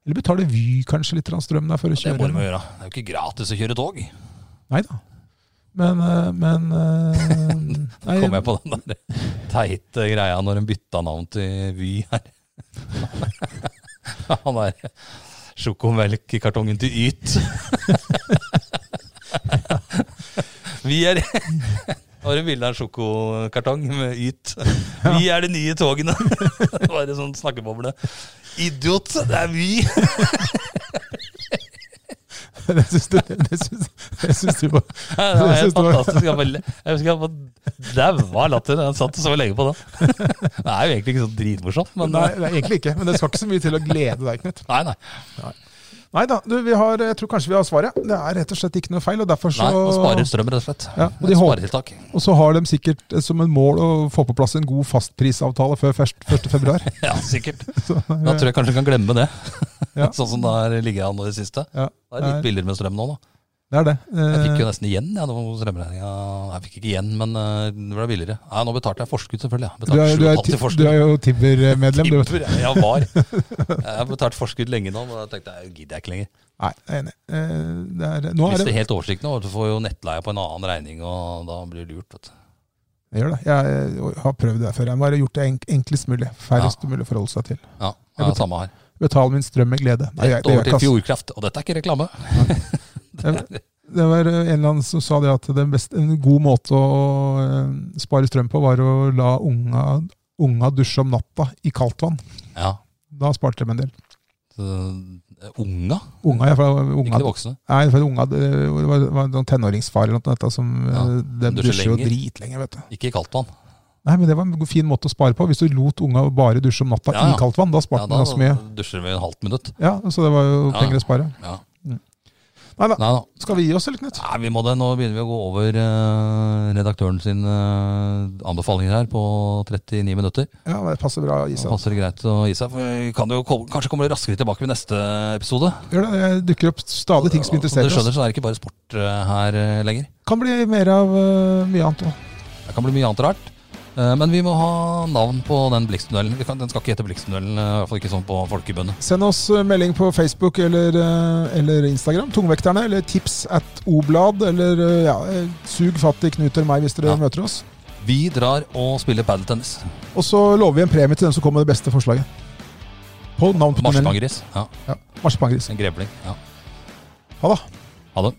Speaker 3: Eller betaler Vy kanskje litt grann strøm der for å
Speaker 2: Ja, det må
Speaker 3: kjøre?
Speaker 2: de jo gjøre. Det er jo ikke gratis å kjøre tog.
Speaker 3: Nei da. Men, eh, men eh,
Speaker 2: *laughs*
Speaker 3: nei,
Speaker 2: Kom jeg på den der teite greia når hun bytta navn til Vy her. *laughs* Han er sjokomelk i kartongen til Yt. *laughs* Vi er Har hun bilde av en sjokokartong med Yt. Vi er de nye togene. *laughs* Bare sånn snakkeboble. Idiot, det er
Speaker 3: *laughs*
Speaker 2: Vy!
Speaker 3: *laughs* Det syns du, det syns, det syns du var
Speaker 2: Det var
Speaker 3: Jeg synes
Speaker 2: helt
Speaker 3: det var-
Speaker 2: fantastisk. Jeg bare- jeg husker jeg bare daua av latter. Jeg satt så lenge på den. *laughs* Det er jo egentlig ikke så dritmorsomt, men eh,
Speaker 3: Nei, det er egentlig ikke. Men det skal ikke så mye til å glede deg, Knut.
Speaker 2: Nei, nei.
Speaker 3: Nei da, du, vi har, jeg tror kanskje vi har svaret. Det er rett og slett ikke noe feil. Og derfor så
Speaker 2: Nei, man sparer strøm, rett og slett.
Speaker 3: Ja, og de
Speaker 2: Et
Speaker 3: håper- *laughs*
Speaker 2: sparetiltak.
Speaker 3: Og så har de sikkert eh, som en mål å få på plass en god fastprisavtale før 1.2.
Speaker 2: *laughs* Ja, sikkert. Da tror jeg kanskje du kan glemme det. *laughs*
Speaker 3: Ja.
Speaker 2: sånn som det har ligget an nå i det siste.
Speaker 3: Ja.
Speaker 2: Det er litt billigere med strøm nå, da.
Speaker 3: Det er det. Eh,
Speaker 2: Jeg fikk jo nesten igjen jeg, nå strømregninga. Jeg fikk ikke igjen, men eh, det ble billigere. Nei, nå betalte jeg forskudd, selvfølgelig. Jeg
Speaker 3: Eh, du, er,
Speaker 2: betalte 7,5 i
Speaker 3: du, er, ti- du
Speaker 2: forskudd.
Speaker 3: er jo Tibber-medlem, du. vet.
Speaker 2: Tipper jeg jeg var.
Speaker 3: *laughs*
Speaker 2: Jeg har betalt forskudd lenge nå, men jeg tenkte jeg gidder jeg ikke lenger.
Speaker 3: Nei, jeg er enig. Eh, Det er, nå er
Speaker 2: Hvis
Speaker 3: det
Speaker 2: det er helt oversikt nå, du får jo nettleie på en annen regning, og da blir det lurt. Vet du.
Speaker 3: Jeg gjør det. Jeg eh, har prøvd det før. Jeg har gjort det enk- enklest mulig. Færrest mulig å forholde seg til.
Speaker 2: Ja,
Speaker 3: Jeg
Speaker 2: ja
Speaker 3: betal-
Speaker 2: samme her.
Speaker 3: Betal min strøm med glede. Nei, jeg,
Speaker 2: Rett over
Speaker 3: det gjør jeg
Speaker 2: til
Speaker 3: ikke.
Speaker 2: Fjordkraft, og dette er ikke reklame.
Speaker 3: ass. Det- Det var en eller annen som sa det at det best, en god måte å eh, spare strøm på, var å la unga, unga dusje om natta i kaldt vann.
Speaker 2: Ja.
Speaker 3: Da sparte de en del.
Speaker 2: Så, eh, Unga,
Speaker 3: Unga, ja, for
Speaker 2: ikke
Speaker 3: unga
Speaker 2: de voksne.
Speaker 3: Nei, for unga, det var, det var noen tenåringsfar eller noe sånt som
Speaker 2: Ja,
Speaker 3: eh, de
Speaker 2: dusjer
Speaker 3: dusjer jo
Speaker 2: lenger.
Speaker 3: dritlenge, vet du.
Speaker 2: Ikke i kaldtvann.
Speaker 3: Nei, men det var en fin måte å spare på. Hvis du lot unga bare dusje om natta
Speaker 2: Ja, ja.
Speaker 3: i kaldt vann, da
Speaker 2: Ja,
Speaker 3: sparte de
Speaker 2: da
Speaker 3: ganske mye.
Speaker 2: dusjer vi et halvt minutt.
Speaker 3: Ja, så det var jo
Speaker 2: Ja,
Speaker 3: penger å spare. Mm.
Speaker 2: Ja.
Speaker 3: Nei da,
Speaker 2: Nei da.
Speaker 3: skal vi gi oss, eller Knut?
Speaker 2: Nei, vi må det. Nå begynner vi å gå over eh, redaktøren sin eh, anbefalinger her på 39 minutter.
Speaker 3: Ja, men det passer bra å gi
Speaker 2: Da
Speaker 3: seg.
Speaker 2: passer det greit å gi seg. For vi kan jo komme, kanskje kommer det raskere tilbake ved neste episode.
Speaker 3: Gjør det, det dukker opp stadig ting som
Speaker 2: Som
Speaker 3: interesserer
Speaker 2: du skjønner,
Speaker 3: oss.
Speaker 2: så er det ikke bare sport eh, her eh, lenger.
Speaker 3: Kan bli mer av eh, mye annet òg.
Speaker 2: Det kan bli mye annet rart. Eh, Men vi må ha navn på den Blixtunnelen. Vi kan- Den skal ikke hete Blixtunnelen, eh, i hvert fall ikke sånn på folkemunne.
Speaker 3: Send oss eh, melding på Facebook eller, eh, eller Instagram, Tungvekterne, eller tips at oblad, eller eh, ja, eh, sug fatt i Knut eller meg hvis dere
Speaker 2: Ja.
Speaker 3: møter oss.
Speaker 2: Vi drar og spiller padeltennis.
Speaker 3: Og så lover vi en premie til den som kommer med det beste forslaget. På navn på tunnelen.
Speaker 2: Marsipangris. Ja,
Speaker 3: Ja, Marsipangris.
Speaker 2: en grevling. Ja.
Speaker 3: Ha det.
Speaker 2: Ha det.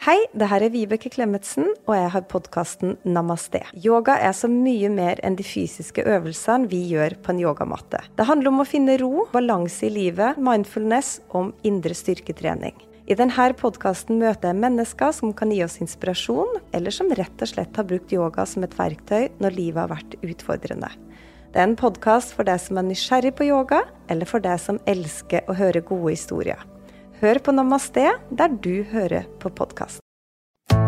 Speaker 1: Hei, det her er Vibeke Klemetsen, og jeg har podkasten Namaste. Yoga er så mye mer enn de fysiske øvelsene vi gjør på en yogamatte. Det handler om å finne ro, balanse i livet, mindfulness og om indre styrketrening. I denne podkasten møter jeg mennesker som kan gi oss inspirasjon, eller som rett og slett har brukt yoga som et verktøy når livet har vært utfordrende. Det er en podkast for deg som er nysgjerrig på yoga, eller for deg som elsker å høre gode historier. Hør på Namaste der du hører på podkast.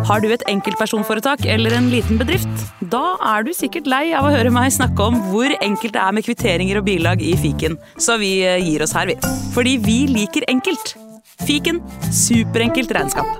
Speaker 5: Har du et enkeltpersonforetak eller en liten bedrift? Da er du sikkert lei av å høre meg snakke om hvor enkelt det er med kvitteringer og bilag i fiken, så eh, vi gir oss her, vi. Fordi vi liker enkelt. Fiken superenkelt regnskap.